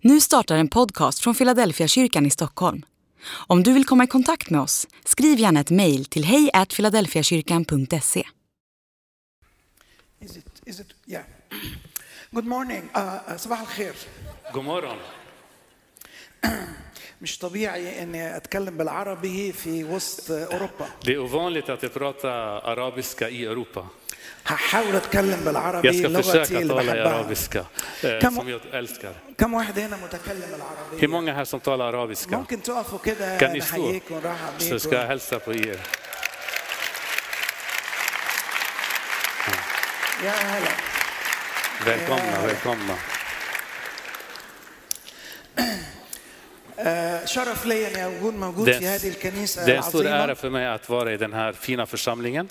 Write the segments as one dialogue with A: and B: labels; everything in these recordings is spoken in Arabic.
A: Nu startar en podcast från Philadelphia kyrkan i Stockholm. Om du vill komma i kontakt med oss, skriv gärna ett mejl till hejfiladelfiakyrkan.se.
B: Is it, is it, yeah. Good morning. آه، صباح الخير.
C: God morgon.
B: مش طبيعي اني اتكلم بالعربي في وسط اوروبا.
C: Det är ovanligt att jag pratar arabiska i Europa.
B: هحاول اتكلم
C: Jag
B: بالعربي
C: ska
B: لغتي
C: försöka
B: اللي
C: tala i
B: بحبها.
C: arabiska, eh,
B: Kan-
C: som jag älskar.
B: كم واحد هنا متكلم
C: Hur
B: العربي؟
C: många här som talar arabiska?
B: ممكن تقفوا كده
C: Kan ni stå?
B: نحييكم ونرحب
C: Så ska jag
B: بيكم.
C: hälsa på er.
B: يا هلا.
C: Välkomna, välkomna.
B: آه، شرف لي اني اكون موجود
C: Det
B: في هذه
C: det
B: الكنيسه
C: är Alltså, en stor ära
B: العظيمه
C: för mig att vara i den här fina församlingen.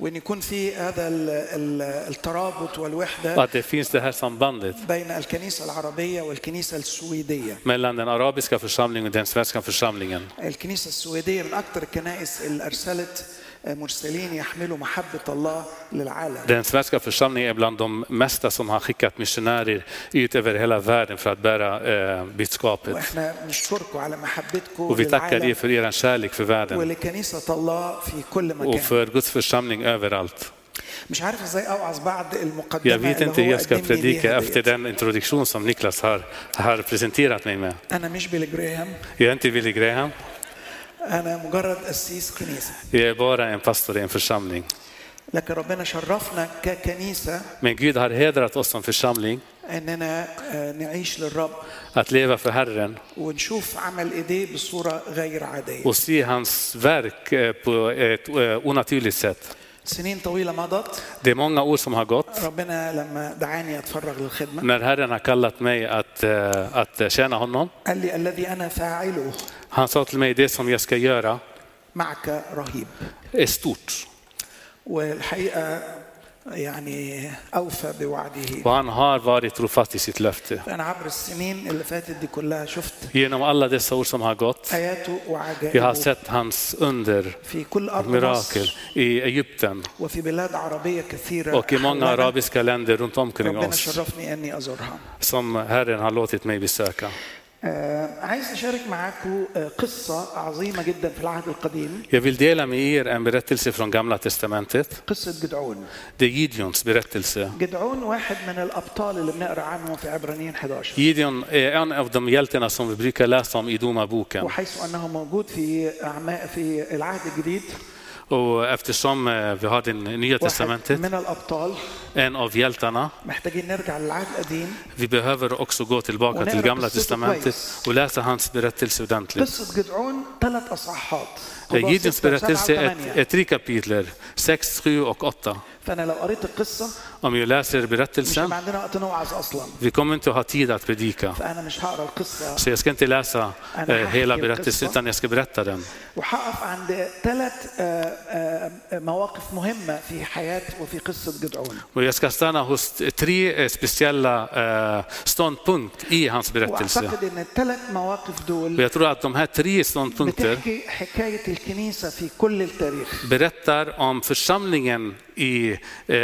B: وان يكون في هذا ال- ال- الترابط
C: Och
B: والوحده
C: att det finns det här sambandet
B: بين الكنيسه العربيه والكنيسه السويديه.
C: mellan den arabiska församlingen och den svenska församlingen.
B: الكنيسة السويدية من أكثر الكنائس اللي أرسلت آه، مرسلين يحملوا محبة الله للعالم
C: Den svenska församlingen är bland de mesta som har skickat missionärer ut över hela världen för att bära eh, budskapet.
B: وإحنا بنشكركم على محبتكم
C: Och vi tackar er
B: للعالم
C: för er kärlek för världen
B: ولكنيسة الله في كل
C: och
B: مكان
C: för Guds församling överallt.
B: مش عارف ازاي اوعظ بعد
C: Jag
B: المقدمة
C: vet
B: اللي
C: inte hur
B: هو
C: jag ska
B: قدم لي
C: predika
B: ليها
C: efter
B: ديت.
C: den introduktion som Niklas har, har presenterat mig med.
B: انا مش بيل جراهام
C: Jag är inte Willy Graham,
B: انا مجرد قسيس كنيسة
C: jag är bara en pastor i en församling.
B: لكن ربنا شرفنا ككنيسة
C: Men Gud har hedrat oss som församling
B: اننا آه، نعيش للرب
C: att leva för Herren
B: ونشوف عمل ايديه بصورة غير عادية
C: och se hans verk eh, på ett eh, onaturligt sätt.
B: سنين طويلة مضت
C: Det är många år som har gått
B: ربنا لما دعاني اتفرغ للخدمه
C: när Herren har kallat mig att, eh, att tjäna honom.
B: قال لي الذي انا فاعله
C: Han sa till mig, det som jag ska göra
B: معك رهيب
C: är stort.
B: والحقيقه يعني اوفى بوعده
C: Och han har varit trofast i sitt löfte.
B: انا عبر السنين اللي fått دي كلها شفت
C: Genom alla dessa år som har gått,
B: اياته
C: jag har
B: وعجائبه
C: sett hans under,
B: في كل ارض
C: mirakel
B: مصر
C: i Egypten
B: وفي بلاد عربيه كثيره
C: och i många
B: حولنا.
C: arabiska länder runt omkring
B: ربنا
C: oss
B: شرفني اني ازورها
C: som Herren har låtit mig besöka.
B: آه، عايز اشارك معاكم آه، قصه عظيمه جدا في العهد القديم
C: Jag vill dela med er en berättelse från Gamla Testamentet.
B: قصه جدعون
C: Det är Gideons berättelse.
B: جدعون واحد من الابطال اللي بنقرا عنهم في عبرانيين 11
C: Gideon är en av de hjältarna som vi brukar läsa om i Domarboken.
B: وحيث انه موجود في أعماء في العهد الجديد
C: Och eftersom eh, vi har det Nya
B: واحد
C: Testamentet,
B: من الابطال
C: en av hjältarna,
B: محتاجين نرجع للعهد القديم
C: Vi behöver också gå tillbaka till Gamla testamentet och läsa hans berättelse ordentligt.
B: قصه جدعون ثلاث اصحاحات قضاء
C: Gideons
B: ستة
C: berättelse
B: وسبعة
C: är ett,
B: وثمانية.
C: är tre kapitler, 6, 7 och 8.
B: فانا لو قريت القصه
C: Om vi läser
B: مش
C: berättelsen,
B: هيبقى عندنا وقت نوعظ اصلا
C: vi kommer inte ha tid att predika.
B: فانا مش هقرا القصه
C: Så jag ska inte läsa eh, hela berättelsen, utan jag ska berätta den.
B: وهقف عند ثلاث مواقف مهمه في حياه وفي قصه جدعون
C: Och jag ska stanna hos tre eh, speciella eh, ståndpunkt i hans berättelse.
B: واعتقد ان الثلاث مواقف
C: Och
B: دول
C: jag tror att de här tre ståndpunkter
B: بتحكي حكايه الكنيسه في كل التاريخ
C: berättar om församlingen i, eh,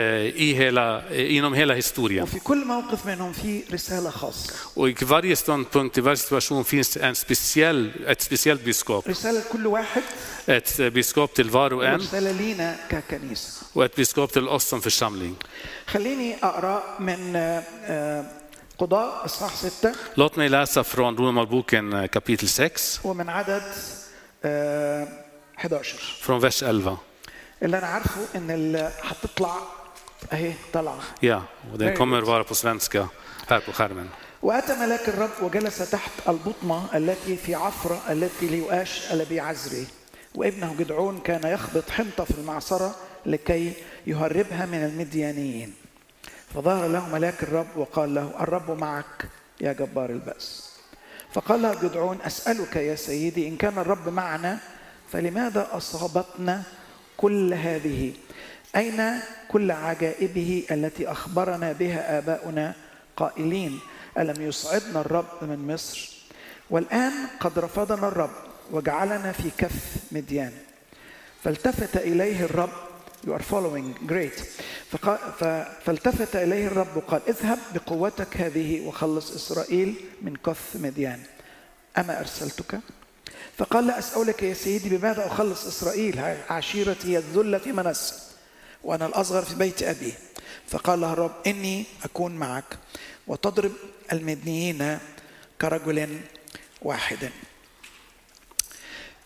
C: i hela, eh, inom hela historien.
B: وفي كل موقف منهم في رساله خاصه
C: Och i varje ståndpunkt, i varje situation finns en speciell, ett speciellt budskap.
B: رسالة لكل واحد
C: Ett eh, budskap till var och en
B: ورسالة لينا ككنيسة
C: och ett budskap till oss som församling.
B: خليني أقرأ من آه، آه، قضاء إصحاح ستة
C: Låt mig läsa från Romarboken eh, kapitel 6,
B: ومن عدد آه، 11
C: från vers 11.
B: اللي أنا عارفه إن ال- هتطلع أهي طالعة
C: Ja, och den kommer vara på svenska här på skärmen.
B: وأتى ملاك الرب وجلس تحت البطمة التي في عفرة التي ليؤاش ألبي عزري وابنه جدعون كان يخبط حنطة في المعصرة لكي يهربها من المديانيين فظهر له ملاك الرب وقال له الرب معك يا جبار البأس فقال له جدعون أسألك يا سيدي إن كان الرب معنا فلماذا أصابتنا كل هذه أين كل عجائبه التي أخبرنا بها آباؤنا قائلين ألم يصعدنا الرب من مصر والآن قد رفضنا الرب وجعلنا في كف مديان فالتفت إليه الرب You are following great. فق- ف- فالتفت إليه الرب وقال اذهب بقوتك هذه وخلص إسرائيل من كث مديان أما أرسلتك فقال لا أسألك يا سيدي بماذا أخلص إسرائيل ع- عشيرتي الذلة منسى وأنا الأصغر في بيت أبي فقال له الرب إني أكون معك وتضرب المدنيين كرجل واحد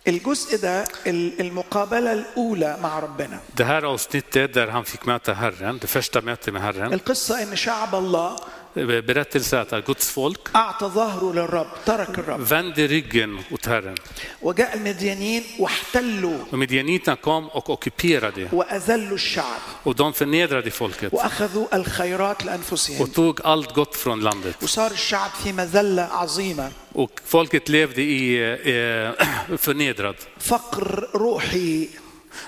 B: الجزء ده ال- المقابلة الأولى مع ربنا
C: Det här avsnittet där han fick möta Herren, det första mötet med Herren, eh,
B: القصة إن شعب الله
C: berättelse att Guds folk
B: أعطى ظهره للرب ترك الرب
C: vände ryggen åt Herren.
B: وجاء المديانيين واحتلوا
C: Och midjaniterna kom och ockuperade
B: وأذلوا الشعب
C: och de förnedrade folket
B: وأخذوا الخيرات لأنفسهم
C: och tog allt gott från landet.
B: وصار الشعب في مذلة عظيمة
C: Och folket levde i eh, förnedrad.
B: فقر روحي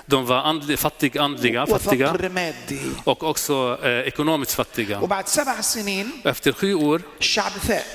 C: De var andli, fattig, andliga, fattiga
B: وفقر مادي
C: och också eh, ekonomiskt fattiga.
B: وبعد سبع سنين
C: Efter sju år
B: الشعب فاق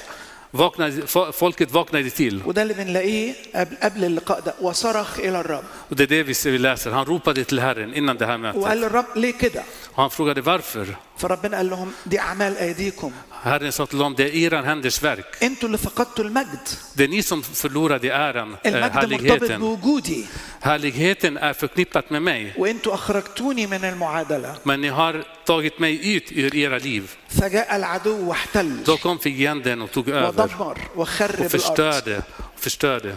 C: vaknade, fo- folket vaknade till.
B: وده اللي بنلاقيه قبل قبل اللقاء ده وصرخ الى الرب
C: Och det är det vi ser- vi läser. Han ropade till Herren innan det här mötet.
B: وقال للرب ليه كده؟
C: Och han frågade varför.
B: فربنا قال لهم دي اعمال ايديكم
C: Herren sa till dem, det är era händers verk.
B: انتوا اللي فقدتوا المجد
C: Det är ni som förlorade äran, eh,
B: المجد مرتبط
C: härligheten.
B: بوجودي
C: Härligheten är förknippat med mig.
B: وانتوا اخرجتوني من المعادله
C: Men ni har tagit mig ut ur era liv.
B: فجاء العدو واحتل
C: Då kom fienden och tog över
B: ودمر
C: och
B: وخرب الارض
C: förstörde. och förstörde.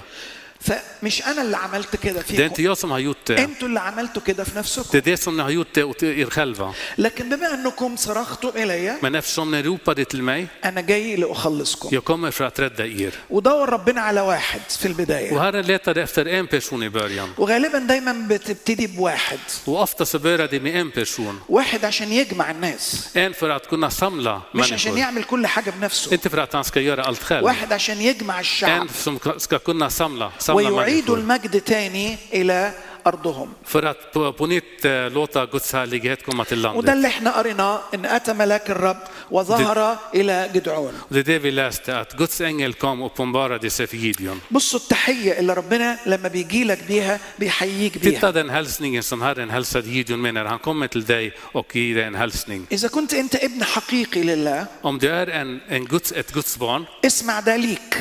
B: فمش انا اللي عملت كده
C: Det är inte
B: فيكم
C: jag som har gjort det.
B: انتوا اللي عملتوا كده في نفسكم
C: Det är det som ni har gjort det åt er själva.
B: لكن بما انكم صرختم الي
C: Men eftersom ni ropade till mig,
B: انا جاي لاخلصكم
C: jag kommer för att rädda er.
B: ودور ربنا على واحد في
C: Och
B: البدايه
C: Herren letade efter en person i början.
B: وغالبا دايما بتبتدي بواحد
C: Och ofta så började det med en person.
B: واحد عشان يجمع الناس
C: En för att kunna samla
B: مش عشان
C: människor.
B: يعمل كل حاجه بنفسه
C: Inte för att han ska göra allt själv.
B: واحد عشان يجمع الشعب
C: En som ska kunna samla, samla
B: ويعيدوا
C: människor.
B: المجد تاني الى ارضهم
C: För att på, på nytt eh, låta Guds härlighet komma till
B: وده
C: landet.
B: اللي احنا قريناه ان اتى ملاك الرب وظهر الى جدعون
C: Och Det är det vi läste, att Guds ängel kom och uppenbarade sig för Gideon.
B: بصوا التحيه اللي ربنا لما بيجي لك بيها بيحييك
C: Titta
B: بيها
C: den hälsningen som Herren hälsade Gideon med när han kommer till dig och ger dig en hälsning.
B: اذا كنت انت ابن حقيقي لله
C: Om du är en, en Guds, ett Guds barn,
B: اسمع ده ليك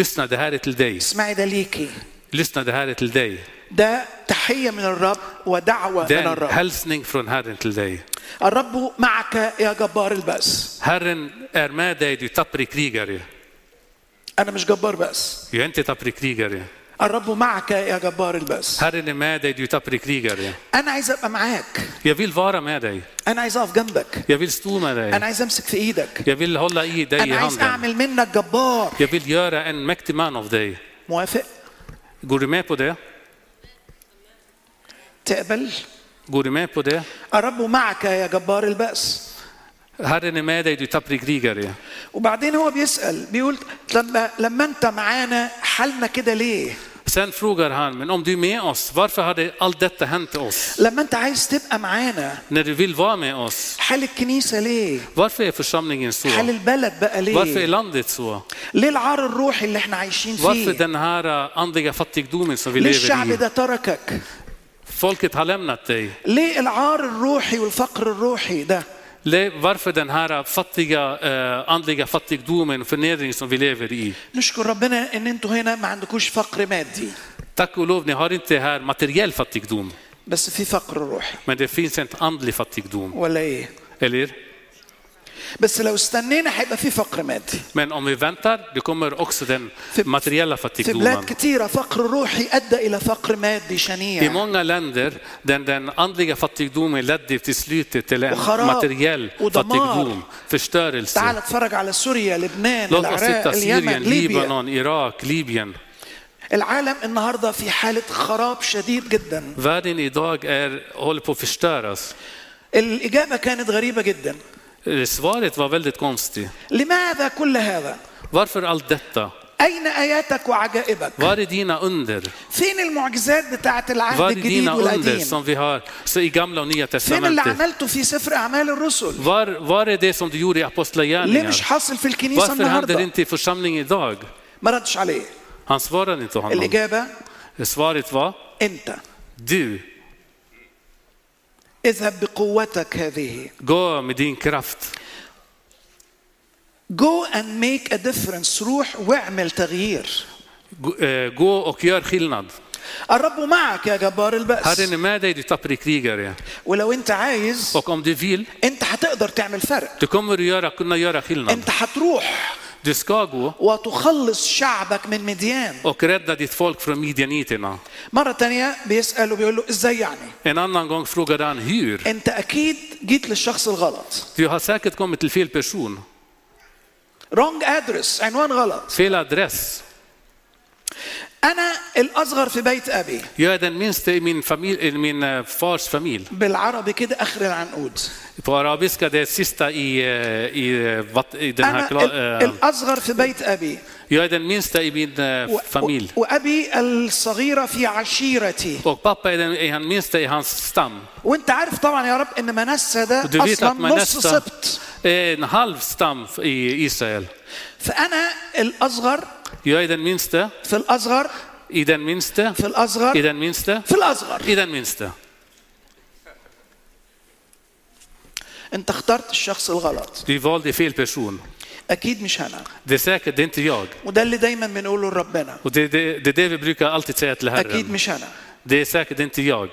C: lyssna det här är till dig.
B: اسمعي ده ليكي
C: Lyssna det här är till dig.
B: ده تحيه من الرب ودعوه
C: Det
B: من
C: är en
B: الرب
C: hälsning från Herren till dig.
B: الرب معك يا جبار الباس
C: Herren är med dig, du är tappre krigare.
B: انا مش جبار بأس
C: Jag är inte tappre krigare.
B: الرب معك يا جبار الباس
C: Herren är med dig, du är tappre krigare.
B: انا عايز ابقى معاك
C: Jag vill vara med dig.
B: انا عايز اقف جنبك
C: Jag vill stå med
B: انا
C: dig.
B: عايز امسك في ايدك
C: Jag vill hålla i dig i
B: انا عايز
C: handen.
B: اعمل منك جبار
C: Jag vill göra en mäktig man av dig.
B: موافق
C: Går du med på det?
B: تقبل
C: Går du med på det?
B: الرب معك يا جبار البأس
C: Herren är med dig, du är tappre krigare.
B: وبعدين هو بيسأل بيقول لما لما انت معانا حالنا كده ليه؟
C: Sen frågar han, men om du är med oss, varför hade allt detta hänt oss?
B: لما انت عايز تبقى معانا
C: När du vill vara med oss,
B: حال الكنيسة ليه؟
C: varför är församlingen så?
B: حال البلد بقى
C: Varför
B: ليه؟
C: är landet så?
B: ليه العار الروحي اللي احنا عايشين
C: Varför
B: فيه؟
C: den här eh, andliga fattigdomen som vi
B: ليه الشعب
C: lever i?
B: ده تركك؟
C: Folket har lämnat dig.
B: ليه العار الروحي والفقر الروحي ده؟
C: Le- Varför den här äh, fattiga, eh, andliga fattigdomen och förnedring som vi lever i?
B: نشكر ربنا ان انتوا هنا ما عندكوش فقر مادي
C: Tack och lov, ni har inte här materiell fattigdom,
B: بس في فقر روحي
C: men det finns en andlig fattigdom.
B: ولا ايه؟
C: Eller?
B: بس لو استنينا هيبقى في فقر مادي
C: Men om vi väntar, det kommer också den materiella
B: في بلاد
C: fattigdomen.
B: كتيرة فقر روحي أدى إلى فقر مادي
C: I
B: شنيع
C: många länder, den, den andliga fattigdomen ledde till slutet till en
B: Och haram,
C: materiell
B: och damar.
C: fattigdom,
B: تعال
C: förstörelse.
B: اتفرج على سوريا لبنان
C: Låt oss
B: العراق
C: titta
B: اليمن
C: Syrien,
B: ليبيا
C: Libanon, Irak, Libyen.
B: العالم النهاردة في حالة خراب شديد جدا
C: Världen idag är, håller på att förstöras.
B: الإجابة كانت غريبة جدا
C: Eh, Svaret var väldigt konstigt.
B: لماذا كل هذا
C: Varför allt detta?
B: أين آياتك وعجائبك
C: Var är dina under?
B: فين المعجزات بتاعت
C: Var
B: العهد
C: är
B: الجديد
C: dina under
B: والقديم
C: som vi har så i gamla och nya
B: فين اللي
C: testamentet?
B: عملته في سفر أعمال الرسل
C: Var, var är det som du gjorde i
B: ليه مش
C: Apostlagärningarna?
B: حاصل في الكنيسة
C: Varför händer det
B: النهاردة
C: inte i församlingen idag?
B: ما ردش عليه
C: Han svarade inte Eh, honom.
B: الإجابة
C: Svaret var
B: أنت
C: du.
B: اذهب بقوتك هذه
C: Gå med din kraft.
B: Go and make a difference روح واعمل تغيير
C: Gå- eh, Gå och gör skillnad.
B: الرب معك يا جبار
C: Herren
B: البأس
C: är med dig, du tappre krigare.
B: ولو انت عايز
C: Och om du vill,
B: انت هتقدر تعمل فرق
C: du kommer att göra, kunna göra skillnad.
B: انت هتروح
C: Du ska gå
B: وتخلص شعبك من مديان
C: och rädda ditt folk från midjaniterna.
B: مرة تانية بيسأل وبيقول له ازاي يعني
C: En annan gång frågade han hur.
B: انت اكيد جيت للشخص الغلط
C: Du har säkert kommit till fel person,
B: رونج ادرس عنوان غلط
C: fel adress.
B: انا الاصغر في بيت ابي
C: Jag är den minste i min, familj, i min eh, fars familj.
B: بالعربي كده اخر العنقود
C: På arabiska, det är sista i, eh, i, eh, vatt- i den
B: انا
C: här...
B: ال-
C: Kla- eh,
B: الاصغر في بيت ابي
C: jag är den minsta i min eh,
B: و-
C: familj.
B: و- وابي الصغيره في عشيرتي
C: Och pappa är den är han minsta i hans stam.
B: وانت عارف طبعا يا رب ان منسى ده
C: Du vet
B: اصلا
C: att
B: نص
C: Manessa
B: سبت
C: är en halv stam i Israel.
B: فانا الاصغر
C: Jag är den minste,
B: في الاصغر
C: i den minste,
B: في
C: i
B: الاصغر
C: den minste,
B: في الاصغر
C: i den minste.
B: انت اخترت الشخص الغلط
C: Du valde fel person.
B: اكيد مش انا
C: Det är säkert, det är inte jag.
B: وده اللي دايما بنقوله لربنا
C: Och det, det, det är det vi brukar alltid säga till
B: اكيد
C: Herren.
B: مش انا
C: Det är säkert inte jag.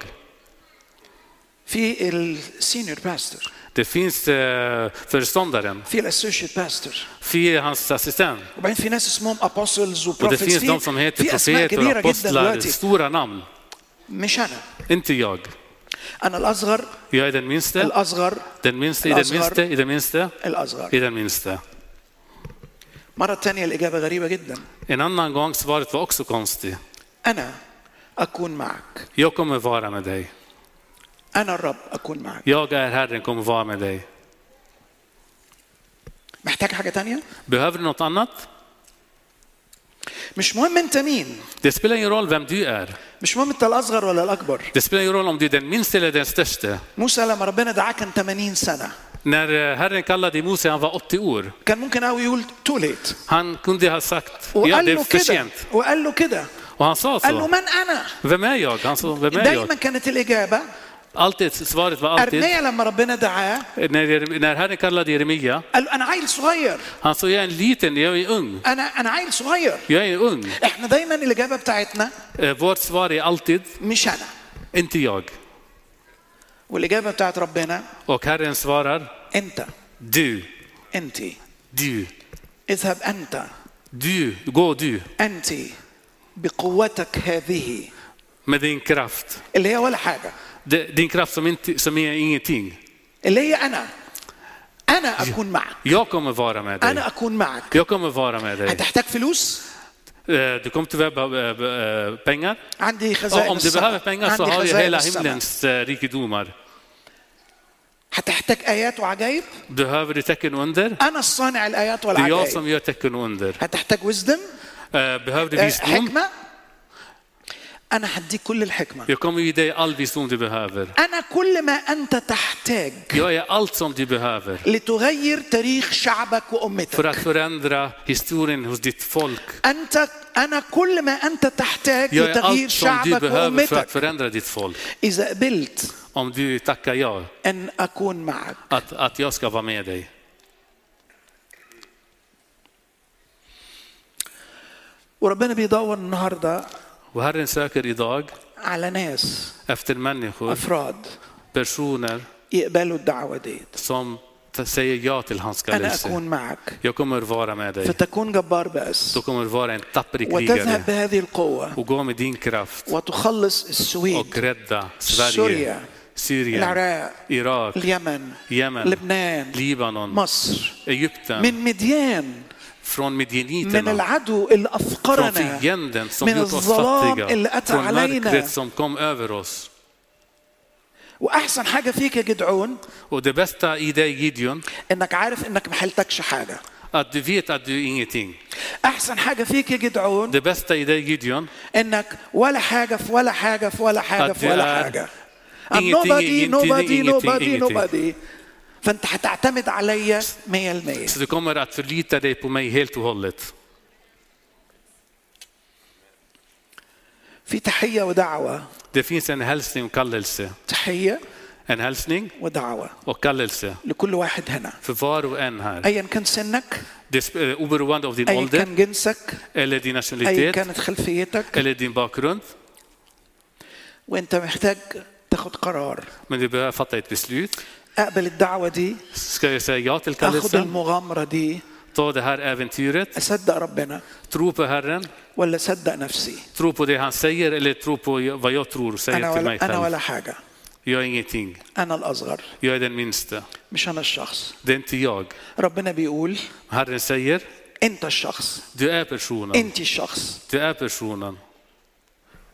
B: في السينيور باستر
C: Det finns eh, föreståndaren,
B: في الاسوشيت باستر
C: för hans assistent.
B: وبعدين في ناس اسمهم ابوستلز
C: Och det finns de
B: وبروفيتس
C: som
B: في,
C: heter
B: في اسماء
C: profeter och
B: كبيره جدا
C: apostlar,
B: دلوقتي
C: stora namn.
B: مش انا
C: Inte jag.
B: انا الاصغر
C: Jag är den minste,
B: الاصغر
C: den minste, i den minste, i den minste,
B: الاصغر
C: i den minste.
B: مره تانية الاجابه غريبه جدا
C: En annan gång svaret var också konstigt.
B: انا اكون معك
C: Jag kommer vara med dig.
B: انا الرب اكون معك
C: Jag är Herren, kommer vara med dig.
B: محتاج حاجه تانية
C: Behöver du något annat?
B: مش مهم انت مين
C: Det spelar ingen roll vem du är.
B: مش مهم انت الاصغر ولا الاكبر
C: Det spelar ingen roll om du är den minste eller den störste.
B: موسى لما ربنا دعاه كان 80 سنه
C: När eh, Herren kallade Mose, han var 80 år.
B: كان ممكن قوي يقول تو ليت
C: Han kunde ha sagt, ja
B: وقال
C: det är
B: له
C: för
B: كده
C: sent.
B: وقال له كده
C: Och han sa
B: قال له
C: så.
B: من انا
C: Vem är jag? Han sa, vem är
B: دايما
C: jag?
B: كانت الاجابه
C: Alltid, svaret var alltid, Eh,
B: ارميا لما ربنا دعاه
C: när, när Herren kallade Jeremia,
B: قال له انا عيل صغير
C: han sa, jag är en liten, jag är ung.
B: انا انا عيل صغير
C: Jag är ung.
B: احنا دايما الاجابه بتاعتنا
C: Eh, Vårt svar är alltid,
B: مش انا
C: inte jag.
B: والاجابه بتاعت ربنا
C: Och Herren svarar,
B: انت
C: du,
B: انت
C: du,
B: اذهب انت
C: du, gå du
B: انت بقوتك هذه
C: med din kraft.
B: اللي هي ولا حاجه
C: Det- Din kraft som, inte, som är ingenting.
B: اللي هي انا انا اكون معك
C: Jag kommer vara med dig.
B: انا اكون معك
C: Jag kommer vara med dig.
B: هتحتاج فلوس
C: Eh, Du kommer tyvärr behöva eh, eh, pengar.
B: عندي
C: Och
B: خزائن
C: om du behöver
B: السماء
C: pengar så
B: عندي
C: har jag
B: خزائن
C: hela
B: السماء
C: himlens eh, rikedomar.
B: هتحتاج ايات وعجائب
C: Behöver du tecken och under?
B: انا الصانع الايات
C: Det är jag som
B: والعجائب
C: gör tecken och under.
B: هتحتاج وزدم
C: Eh, Behöver du visdom?
B: حكمه انا هديك كل الحكمه
C: Jag kommer ge dig all visdom du behöver.
B: انا كل ما انت تحتاج
C: Jag är allt som du behöver
B: لتغير تاريخ شعبك
C: för
B: وامتك
C: att förändra historien hos ditt folk.
B: انت انا كل ما انت تحتاج
C: Jag är
B: لتغيير
C: allt som du
B: شعبك
C: behöver för att
B: وامتك
C: förändra ditt folk.
B: اذا قبلت
C: Om du tackar ja,
B: ان اكون معك
C: att, att jag ska vara med dig.
B: وربنا بيدور النهارده
C: Och Herren söker idag
B: على ناس
C: efter människor,
B: افراد
C: personer
B: يقبلوا الدعوه ديت
C: som t- säger ja till hans
B: انا
C: kallelse.
B: اكون معك
C: Jag kommer vara med dig.
B: فتكون جبار باس
C: Du kommer vara en tapper
B: وتذهب
C: krigare
B: بهذه القوه
C: och gå med din kraft
B: وتخلص
C: och
B: السويد
C: rädda
B: Syrien,
C: Sverige, Syrien,
B: العراق
C: Irak,
B: اليمن
C: Jemen,
B: لبنان
C: Libanon,
B: مصر
C: Egypten,
B: من مديان
C: från
B: من
C: midjaniterna,
B: العدو اللي
C: från
B: أفقرنا
C: fienden som
B: من
C: gjort oss
B: الظلام اللي
C: fattiga,
B: أتى
C: från
B: علينا.
C: mörkret som kom över oss.
B: وأحسن حاجة فيك يا جدعون
C: Och det bästa i dig Gideon,
B: إنك عارف إنك ما حلتكش حاجة
C: att du vet att du är ingenting.
B: أحسن حاجة فيك يا جدعون
C: Det bästa i dig Gideon,
B: إنك ولا حاجة في ولا حاجة في ولا حاجة في ولا
C: أدي-
B: حاجة I'm
C: إنجتي-
B: nobody
C: إنجتي-
B: nobody
C: إنجتي-
B: nobody
C: إنجتي.
B: nobody فأنت هتعتمد عليا 100%
C: så du kommer att förlita dig på mig helt och hållet.
B: في تحية ودعوة
C: Det finns en hälsning och kallelse.
B: تحية
C: en hälsning
B: ودعوة
C: och kallelse
B: لكل واحد هنا
C: för var och en här.
B: أيا كان سنك
C: Det, sp- eh, oberoende av din
B: أيا
C: ålder,
B: كان جنسك
C: eller din
B: أيا
C: nationalitet,
B: كانت خلفيتك
C: eller din bakgrund.
B: وأنت محتاج تاخد قرار
C: Men du behöver fatta ett beslut.
B: أقبل الدعوة دي
C: Ska jag säga ja till
B: أخد
C: kallelsen?
B: المغامرة دي
C: Ta det här äventyret.
B: أصدق ربنا
C: Tro på Herren.
B: ولا أصدق نفسي
C: Tro på det han säger eller tro på vad jag tror
B: أنا
C: säger till mig
B: ولا أنا
C: själv.
B: ولا حاجة
C: Jag är ingenting.
B: أنا الأصغر
C: Jag är den minste.
B: مش أنا الشخص
C: Det är inte jag.
B: ربنا بيقول
C: Herren säger,
B: أنت الشخص
C: du är personen.
B: أنت الشخص
C: Du är personen.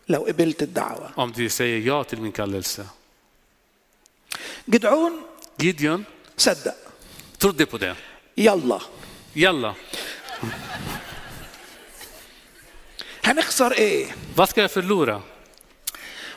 B: لو قبلت الدعوة
C: Om du säger ja till min kallelse.
B: جدعون
C: Gideon
B: صدق
C: trodde på det.
B: يلا
C: Jalla,
B: هنخسر ايه
C: vad ska jag förlora?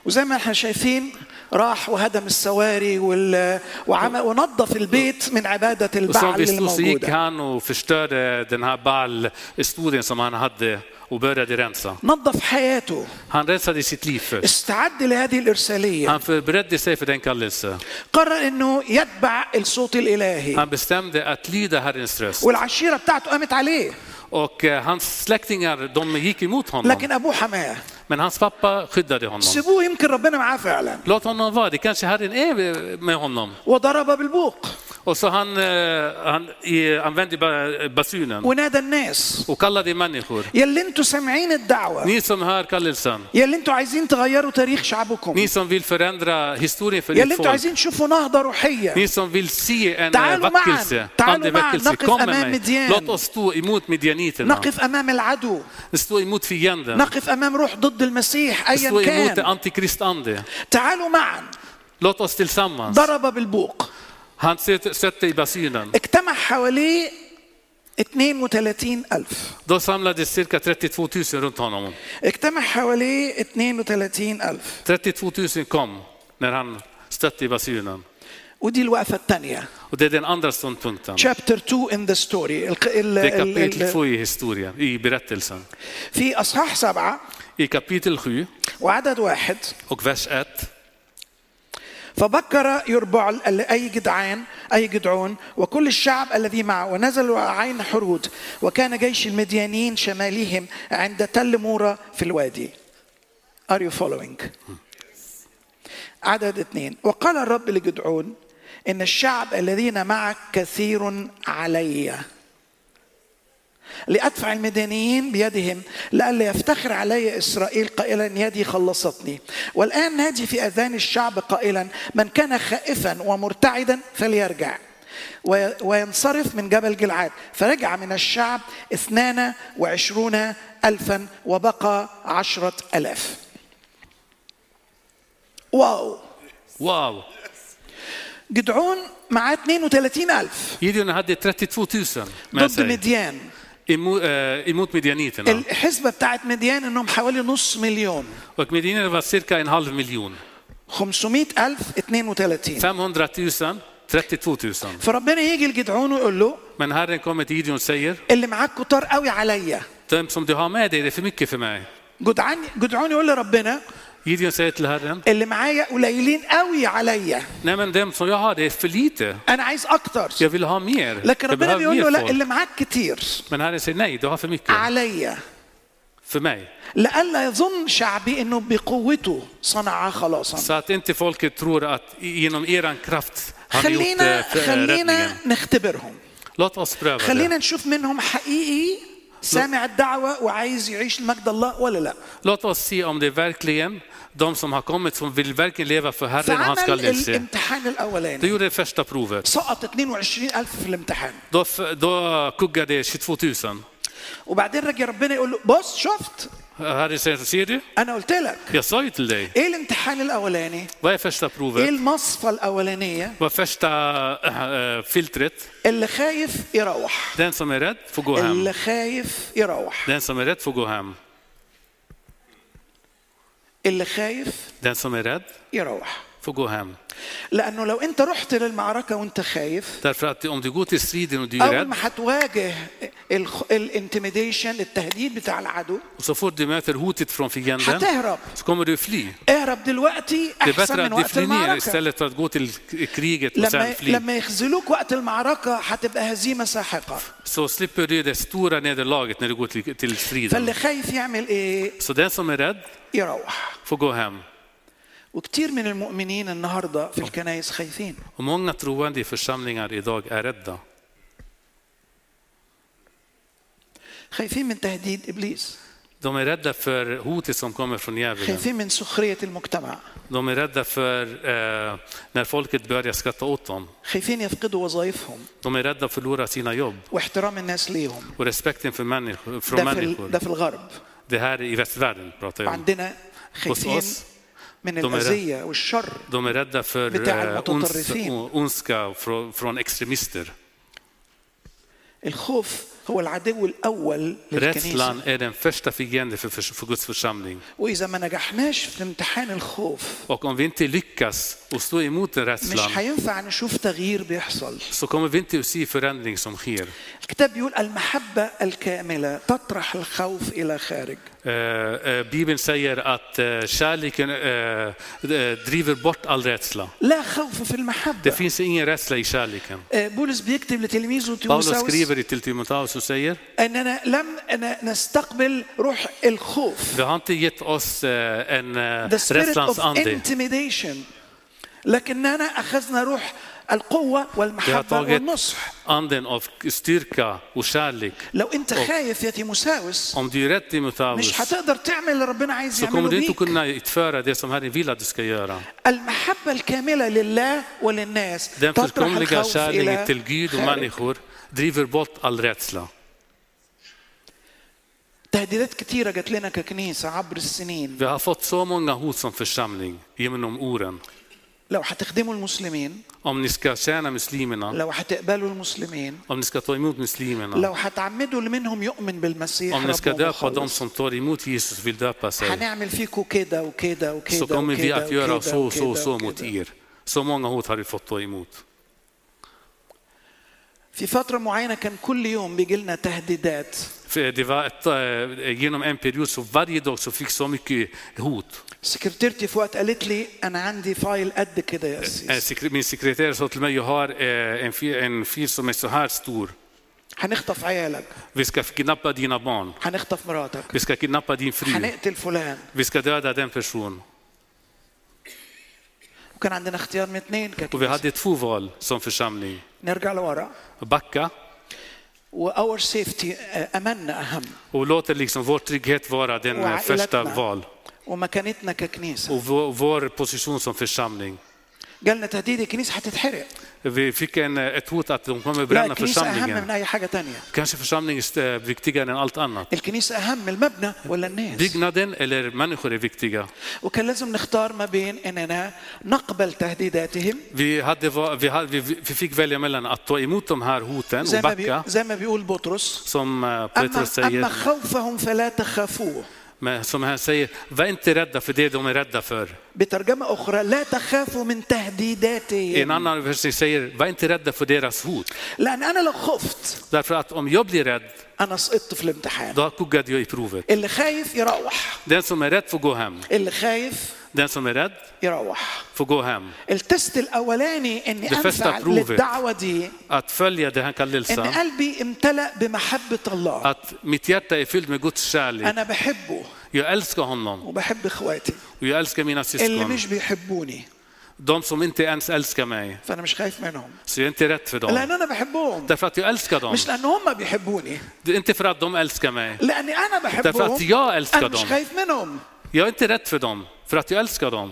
B: وزي ما احنا شايفين راح وهدم السواري وال... وعمل ونظف البيت من عبادة
C: Och som
B: البعل
C: vi stod så gick
B: الموجودة
C: han och förstörde den här Baal-historien som han hade och började rensa.
B: نظف حياته
C: Han rensade sitt liv först.
B: استعد لهذه الإرسالية
C: Han förberedde sig för den kallelse.
B: قرر أنه يتبع الصوت الإلهي
C: Han bestämde att lyda Herrens röst.
B: والعشيرة بتاعته قامت عليه
C: Och eh, hans släktingar, de gick emot honom.
B: لكن أبوه حماه
C: Men hans pappa skyddade honom.
B: سيبوه يمكن ربنا معاه فعلا
C: Låt honom vara, det kanske Herren är med honom.
B: وضرب بالبوق
C: Och så han, eh, han eh, använde ba- basunen
B: ونادى الناس
C: och kallade människor.
B: يا اللي انتوا سامعين الدعوة
C: Ni som hör kallelsen,
B: يا اللي انتوا عايزين تغيروا تاريخ شعبكم
C: ni som vill förändra historien för
B: يا
C: ditt
B: اللي انتوا
C: folk,
B: عايزين تشوفوا نهضة روحية
C: ni som vill se en eh,
B: تعالوا معا،
C: väckelse,
B: تعالوا
C: andeväckelse,
B: معا، نقف
C: kom med
B: أمام
C: mig.
B: مديان.
C: Låt oss stå emot midjaniterna,
B: نقف امام العدو
C: stå emot fienden,
B: نقف امام روح ضد المسيح
C: stå
B: ايا
C: emot
B: كان
C: antikristande.
B: تعالوا معا
C: Låt oss tillsammans.
B: ضرب بالبوق
C: Han söt- sötte i basunen.
B: اجتمع حواليه 32 ألف
C: Då samlades cirka 32 000 runt honom.
B: اجتمع حواليه 32 ألف
C: 32 000 kom när han stötte i basunen.
B: ودي الوقفة الثانية
C: Och det är den andra ståndpunkten.
B: chapter 2 in the story الق... ال...
C: Det är
B: ال...
C: kapitel
B: ال...
C: 2 i historien, i berättelsen.
B: في أصحاح سبعة
C: I kapitel 7
B: وعدد واحد
C: och vers 1.
B: فبكر يربعل ال- أي جدعان أي جدعون وكل الشعب الذي معه ونزلوا عين حرود وكان جيش المديانين شمالهم عند تل مورا في الوادي Are you following? عدد اثنين وقال الرب لجدعون إن الشعب الذين معك كثير علي لأدفع المديانيين بيدهم لئلا يفتخر علي إسرائيل قائلا يدي خلصتني والآن نادي في أذان الشعب قائلا من كان خائفا ومرتعدا فليرجع وي- وينصرف من جبل جلعاد فرجع من الشعب اثنان وعشرون ألفا وبقى عشرة ألاف واو
C: Wow!
B: جدعون معاه 32 ألف
C: Gideon hade 32 000 med
B: ضد
C: sig
B: مديان
C: emot, eh, emot midjaniterna.
B: الحسبة بتاعت مديان انهم حوالي نص مليون
C: Och midjaniterna var cirka en halv miljon.
B: 500 ألف 32
C: 500 000, 32 000.
B: فربنا يجي لجدعون ويقول له
C: Men Herren kommer till Gideon och säger,
B: اللي معاك كتار قوي عليا
C: de som du har med dig, det är för mycket för mig.
B: جدعان جدعون يقول لربنا
C: Gideon säger till Herren,
B: اللي معايا قليلين قوي عليا
C: nej men dem som jag har, det är för lite.
B: انا عايز اكتر
C: Jag vill ha mer.
B: لكن
C: Jag
B: ربنا
C: behöver
B: بيقول له
C: mer
B: لا
C: folk.
B: اللي معاك كتير
C: Men Herren säger nej, du har för mycket.
B: عليا
C: För mig.
B: لئلا يظن شعبي انه بقوته صنع خلاصا
C: Så att inte folket tror att genom er kraft har ni gjort
B: خلينا
C: eh, för- eh, räddningen.
B: خلينا نختبرهم
C: Låt oss pröva det.
B: خلينا نشوف منهم حقيقي سامع الدعوة وعايز يعيش لمجد الله ولا لا
C: Låt oss se om det är verkligen de som har kommit som vill verkligen leva för Herren och hans
B: فعمل
C: kallelse.
B: الامتحان
C: De
B: الأولاني
C: gjorde det första provet.
B: سقط 22 ألف في الامتحان
C: Då, f- då kuggade 22 000.
B: وبعدين رجع ربنا يقول له بص شفت
C: Herren säger, ser du?
B: انا قلت لك
C: Jag sa ju till dig.
B: ايه الامتحان الاولاني
C: Vad är första
B: ايه
C: provet?
B: المصفى الاولانيه
C: Vad är första äh, äh, filtret?
B: اللي خايف يروح
C: Den som är rädd får gå hem.
B: اللي خايف يروح
C: Den som är rädd får gå hem.
B: اللي خايف
C: Den som är rädd
B: يروح
C: får gå hem.
B: لانه لو انت رحت للمعركه وانت خايف
C: Därför att om du går till striden och du är
B: اول
C: rädd,
B: ما هتواجه الانتميديشن التهديد بتاع العدو
C: och så fort du möter hotet från fienden,
B: هتهرب
C: så kommer du fly.
B: اهرب دلوقتي
C: Det är
B: احسن
C: bättre
B: من
C: att du
B: وقت المعركه
C: flyr ner istället för att gå till kriget och
B: لما
C: sen fly.
B: لما يخذلوك وقت المعركه هتبقى هزيمه ساحقه
C: Så slipper du det stora nederlaget när du går till, till striden.
B: فاللي خايف يعمل ايه
C: Så den som är rädd
B: يروح
C: får gå hem.
B: وكتير من المؤمنين النهارده في الكنائس خايفين
C: Och många troende i församlingar idag är rädda.
B: خايفين من تهديد ابليس
C: De är rädda för hotet som kommer från djävulen.
B: خايفين من سخريه المجتمع
C: De är rädda för eh, när folket börjar skratta åt dem.
B: خايفين يفقدوا وظائفهم
C: De är rädda att förlora sina jobb
B: واحترام الناس ليهم
C: och respekten för människor, från
B: ده في, ال- ده
C: människor.
B: في الغرب
C: Det här är i västvärlden pratar jag om.
B: وعندنا خايفين
C: أص-
B: من
C: ضميرة.
B: الاذيه والشر
C: De är rädda för
B: بتاع
C: eh, ons,
B: المتطرفين.
C: ondska från, från extremister.
B: الخوف هو العدو الاول
C: Rädslan
B: للكنيسه
C: är den första fienden för, för, för Guds församling.
B: واذا ما نجحناش في امتحان الخوف
C: Och om vi inte lyckas och stå emot den
B: مش
C: rädslan
B: هينفع نشوف تغيير بيحصل
C: så kommer vi inte att se förändring som sker.
B: الكتاب بيقول المحبة الكاملة تطرح الخوف إلى خارج
C: Eh, eh, Bibeln säger att eh, kärleken eh, eh, driver bort all rädsla.
B: لا خوف في
C: Det
B: المحبة
C: finns ingen rädsla i kärleken.
B: آه، بولس بيكتب لتلميذه
C: Paulus
B: تيموساوس
C: skriver till Timoteus och säger,
B: أننا لم أن- نستقبل روح الخوف
C: du har inte gett oss eh, en eh,
B: the spirit
C: rädslans
B: of
C: ande.
B: intimidation لكننا أخذنا روح القوة
C: Du har
B: والمحبة
C: tagit
B: والنصح
C: anden av styrka och kärlek.
B: لو أنت
C: أوف.
B: خايف يا تيموساوس
C: Om du är rädd Timoteus
B: مش هتقدر تعمل اللي ربنا عايز
C: så kommer
B: يعمله
C: du inte
B: بيك
C: kunna utföra det som Herren vill att du ska göra.
B: المحبة الكاملة لله وللناس
C: Den
B: تطرح
C: fullkomliga
B: الخوف إلى
C: kärleken till Gud och
B: خارج.
C: människor driver bort all rädsla.
B: تهديدات كتيرة جات لنا ككنيسة عبر السنين
C: Vi har fått så många hot som församling genom åren.
B: لو هتخدموا المسلمين
C: Om ni ska tjäna muslimerna,
B: لو هتقبلوا المسلمين
C: om ni ska ta emot muslimerna,
B: لو هتعمدوا اللي منهم يؤمن بالمسيح
C: om ni ska
B: ربهم
C: döpa de
B: وخلص.
C: som tar emot Jesus och vill döpa sig,
B: هنعمل فيكم كده وكده وكده
C: så kommer vi att
B: وكده
C: göra så och så och så mot
B: وكده.
C: er. Så många hot har vi fått ta emot.
B: في فترة معينة كان كل يوم بيجي لنا تهديدات
C: För det var ett, eh, genom en period så varje dag så fick så mycket hot.
B: سكرتيرتي في وقت قالت لي أنا عندي فايل قد كده يا
C: Eh,
B: أسيس
C: sekre- Min sekreterare sa till mig, jag har eh, en fil, en fil som är så här stor.
B: هنخطف عيالك
C: Vi ska kidnappa dina barn.
B: هنخطف مراتك
C: Vi ska kidnappa din fru.
B: هنقتل فلان
C: Vi ska döda den personen.
B: وكان عندنا اختيار من اثنين
C: Och vi
B: كده
C: hade två val som församling.
B: نرجع لورا
C: Backa
B: واور سيفتي اماننا اهم
C: och låta liksom vår trygghet vara den eh, första val.
B: ومكانتنا ككنيسه
C: Och vår, vår position som församling.
B: جالنا تهديد الكنيسه هتتحرق
C: Vi fick en, eh, ett hot att de kommer
B: لا
C: bränna
B: الكنيسه اهم من
C: församlingen.
B: اي حاجه تانية
C: Kanske församlingen är eh, viktigare än allt annat.
B: الكنيسه اهم المبنى ولا الناس
C: Byggnaden eller människor är viktiga.
B: وكان لازم نختار ما بين اننا نقبل تهديداتهم
C: Vi, hade, va- vi, hade, vi- vi fick välja mellan att ta emot de här hoten
B: زي
C: och
B: ما, بي...
C: backa,
B: زي ما بيقول بطرس
C: som eh,
B: أما,
C: Petrus
B: اما
C: säger,
B: خوفهم فلا تخافوه
C: men som han säger, var inte rädda för det de är rädda för.
B: بترجمه اخرى لا تخافوا من
C: I en
B: تهديداتهم
C: annan översättning säger, var inte rädda för deras hot.
B: لان انا لو خفت
C: Därför att om jag blir rädd,
B: انا سقطت في الامتحان
C: då kuggade jag i provet.
B: اللي خايف يروح
C: Den som är rädd får gå hem.
B: اللي خايف
C: Den som är rädd
B: يروح
C: får gå hem.
B: التست الاولاني اني
C: The first
B: انفع
C: approve it.
B: للدعوه دي
C: Att följa den här
B: ان
C: kallelsen,
B: قلبي امتلا بمحبه الله
C: att mitt hjärta är fyllt med Guds kärlek.
B: انا بحبه
C: Jag älskar honom
B: وبحب اخواتي
C: och jag älskar mina
B: اللي
C: syskon.
B: مش بيحبوني
C: De som inte ens älskar mig,
B: فانا مش خايف منهم
C: så jag är inte rädd för dem.
B: لان انا بحبهم
C: Därför att jag älskar dem.
B: مش لان هم بيحبوني
C: Det är inte för att de älskar mig.
B: لاني انا
C: Därför
B: بحبهم
C: att jag älskar
B: انا مش
C: dem.
B: خايف منهم
C: Jag är inte rädd för dem, för att jag älskar dem.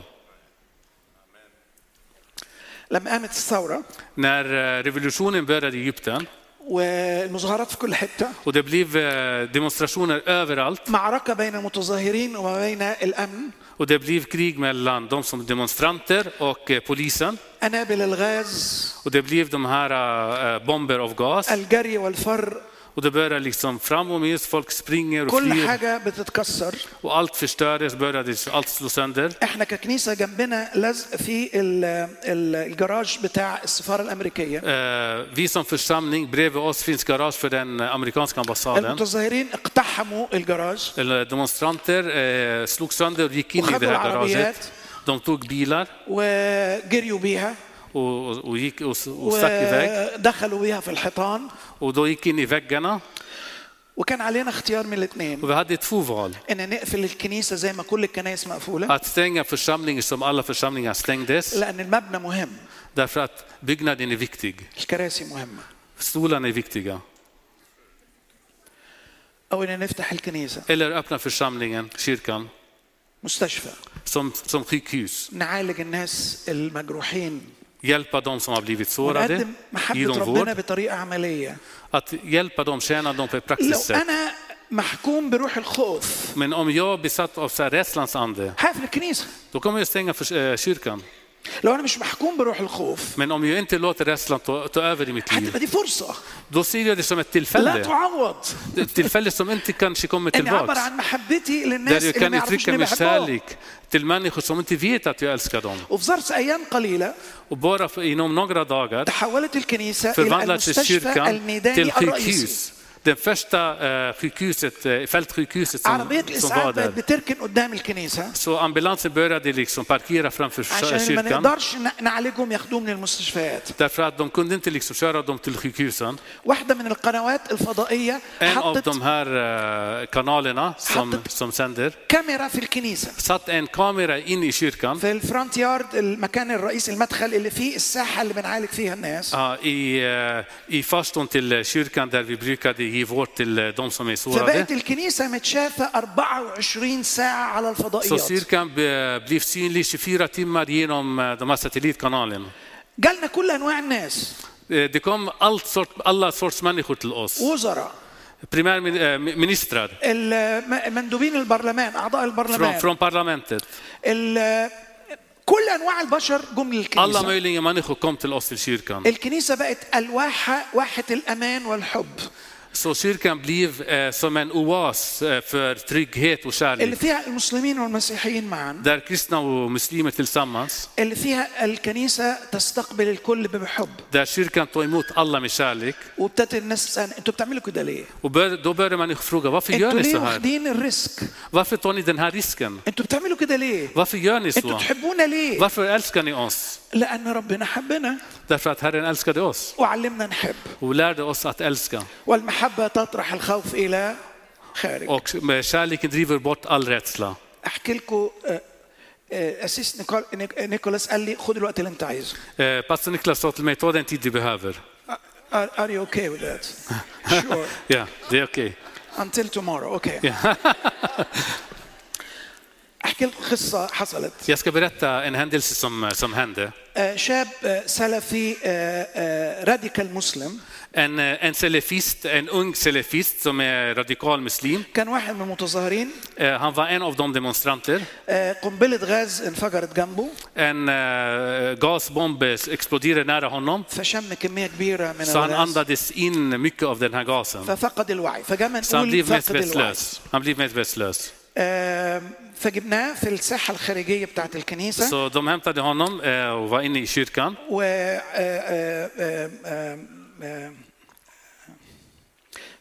B: لما قامت الثوره
C: När eh, revolutionen började i Egypten
B: والمظاهرات في كل حته
C: och det blev eh, demonstrationer överallt
B: معركه بين المتظاهرين وما بين الامن
C: och det blev krig mellan de som demonstranter och eh, polisen
B: انابل الغاز
C: och det blev de här eh, bomber av gas
B: الجري والفر
C: Och det börjar liksom fram och med, folk springer och
B: كل
C: flyr
B: حاجه بتتكسر
C: och allt förstörs, började allt slå sönder.
B: احنا ككنيسه جنبنا لزق في ال- ال- الجراج بتاع السفاره الامريكيه
C: Eh, Vi som församling, bredvid oss finns garage för den amerikanska ambassaden.
B: المتظاهرين اقتحموا الجراج
C: Eller Demonstranter eh, slog sönder och gick in i det
B: وخدوا
C: här
B: العربيات.
C: garaget. De tog bilar
B: وجريوا بيها
C: och, och, och, gick, och, och eh, stack iväg.
B: ودخلوا بيها في الحيطان
C: Och då gick in i väggarna.
B: وكان علينا اختيار من الاثنين
C: Och vi hade två val.
B: ان نقفل الكنيسه زي ما كل الكنائس مقفوله
C: Att stänga församlingen som alla församlingar stängdes.
B: لان المبنى مهم
C: Därför att byggnaden är viktig.
B: الكراسي مهمه
C: Stolarna är viktiga.
B: او ان نفتح الكنيسه
C: Eller öppna församlingen, kyrkan,
B: مستشفى
C: som, som sjukhus.
B: نعالج الناس المجروحين
C: Hjälpa de som har blivit sårade,
B: ونقدم
C: ge
B: محبه
C: dem
B: ربنا
C: vård.
B: بطريقه عمليه
C: Att hjälpa dem, tjäna dem på ett
B: لو
C: praktiskt sätt.
B: انا محكوم بروح الخوف
C: Men om jag är besatt av så här rädslans ande,
B: هقفل الكنيسه
C: då kommer jag stänga för, eh, kyrkan.
B: لو انا مش محكوم بروح الخوف
C: Men om jag inte låter rädslan ta, ta över i mitt liv,
B: هتبقى دي فرصه
C: då ser jag det som ett
B: لا
C: tillfälle.
B: تعوض
C: Ett tillfälle som inte kanske kommer
B: اني اعبر
C: tillbaks.
B: عن محبتي
C: Där
B: للناس
C: jag
B: اللي
C: kan
B: ما يعرفوش
C: uttrycka
B: اني
C: min
B: بحبهم
C: kärlek till människor som inte vet att jag älskar dem.
B: وفي ظرف ايام قليله
C: Och bara för, inom några dagar
B: تحولت الكنيسه الى
C: förvandlades
B: المستشفى
C: kyrkan till
B: الميداني الرئيسي
C: sjukhus. Det första eh, sjukhuset, eh, fältsjukhuset som,
B: عربيه
C: som
B: الاسعاف
C: var där.
B: بقت بتركن قدام الكنيسه
C: Så ambulansen började liksom parkera framför kö-
B: عشان ما
C: kyrkan.
B: نقدرش ن- نعالجهم ياخدوهم من المستشفات
C: Därför att de kunde inte liksom köra dem till sjukhusen.
B: واحده من القنوات الفضائيه
C: En av
B: حطت
C: de här eh, kanalerna som,
B: Hattet-
C: som sänder
B: كاميرا في الكنيسه
C: satt en kamera in i kyrkan,
B: في الفرونت يارد المكان الرئيسي المدخل اللي فيه الساحه اللي بنعالج فيها الناس
C: ja, i, eh, i farstun till kyrkan där vi brukade ge vård till eh, de som är sårade.
B: فبقت الكنيسه متشافه 24 ساعه على
C: Så
B: الفضائيات
C: kyrkan be- blev synlig 24 timmar genom eh, de här satellitkanalen.
B: جالنا كل انواع الناس
C: Eh, Det kom allt sort, alla sorts människor till oss. eh,
B: وزراء
C: Primärministrar
B: الم- مندوبين البرلمان اعضاء
C: från,
B: البرلمان
C: från parlamentet.
B: ال- كل انواع البشر جم
C: Alla
B: للكنيسه
C: möjliga människor kom till oss till
B: Eh.
C: kyrkan.
B: الكنيسه بقت الواحه واحه الامان والحب
C: Så kyrkan blev eh, som en oas eh, för trygghet och
B: اللي
C: kärlek.
B: فيها المسلمين والمسيحيين معا
C: Där kristna och muslimer tillsammans,
B: اللي فيها الكنيسه تستقبل الكل بحب
C: där kyrkan tar emot alla med kärlek.
B: وابتدت الناس تسال انتوا بتعملوا كده ليه؟
C: Och bör, då börjar människor fråga, varför gör
B: انتوا
C: ni
B: ليه
C: så här?
B: واخدين الريسك؟
C: Varför tar ni den här risken?
B: انتوا بتعملوا كده ليه؟
C: Varför gör ni
B: انتوا
C: så?
B: تحبونا ليه؟
C: Varför älskar ni oss?
B: لان ربنا حبنا
C: Därför att Herren älskade oss
B: وعلمنا نحب
C: och lärde oss att älska.
B: والمحبه تطرح الخوف الى خارج
C: Och med kärleken driver bort all rädsla.
B: احكي لكم اسيس نيكول- نيك- نيكولاس قال لي خد الوقت اللي انت عايزه
C: Eh, pastor Niklas sa till mig, ta den tid du behöver.
B: ار يو اوكي with that sure
C: Ja, det är okej.
B: until tomorrow اوكي
C: Ja.
B: احكي لكم قصه حصلت
C: Jag ska berätta en händelse som, eh, som hände.
B: آه، شاب آه، سلفي آه، آه، راديكال مسلم
C: En, eh, en selefist, en ung selefist som är radikal muslim.
B: كان واحد من المتظاهرين
C: Eh, Han var en av de demonstranter.
B: آه، قنبله غاز انفجرت جنبه
C: En eh, gasbomb exploderade nära honom.
B: فشم كميه كبيره من
C: Så han
B: الغاز
C: andades in mycket av den här gasen.
B: ففقد الوعي فجاء
C: Så han
B: نقول
C: blev
B: فقد الوعي
C: medvetslös. Han blev medvetslös.
B: آه، فجبناه في الساحه الخارجيه بتاعه الكنيسه
C: Så de hämtade honom eh, och var inne i kyrkan.
B: و آه، آه، آه، آه، آه،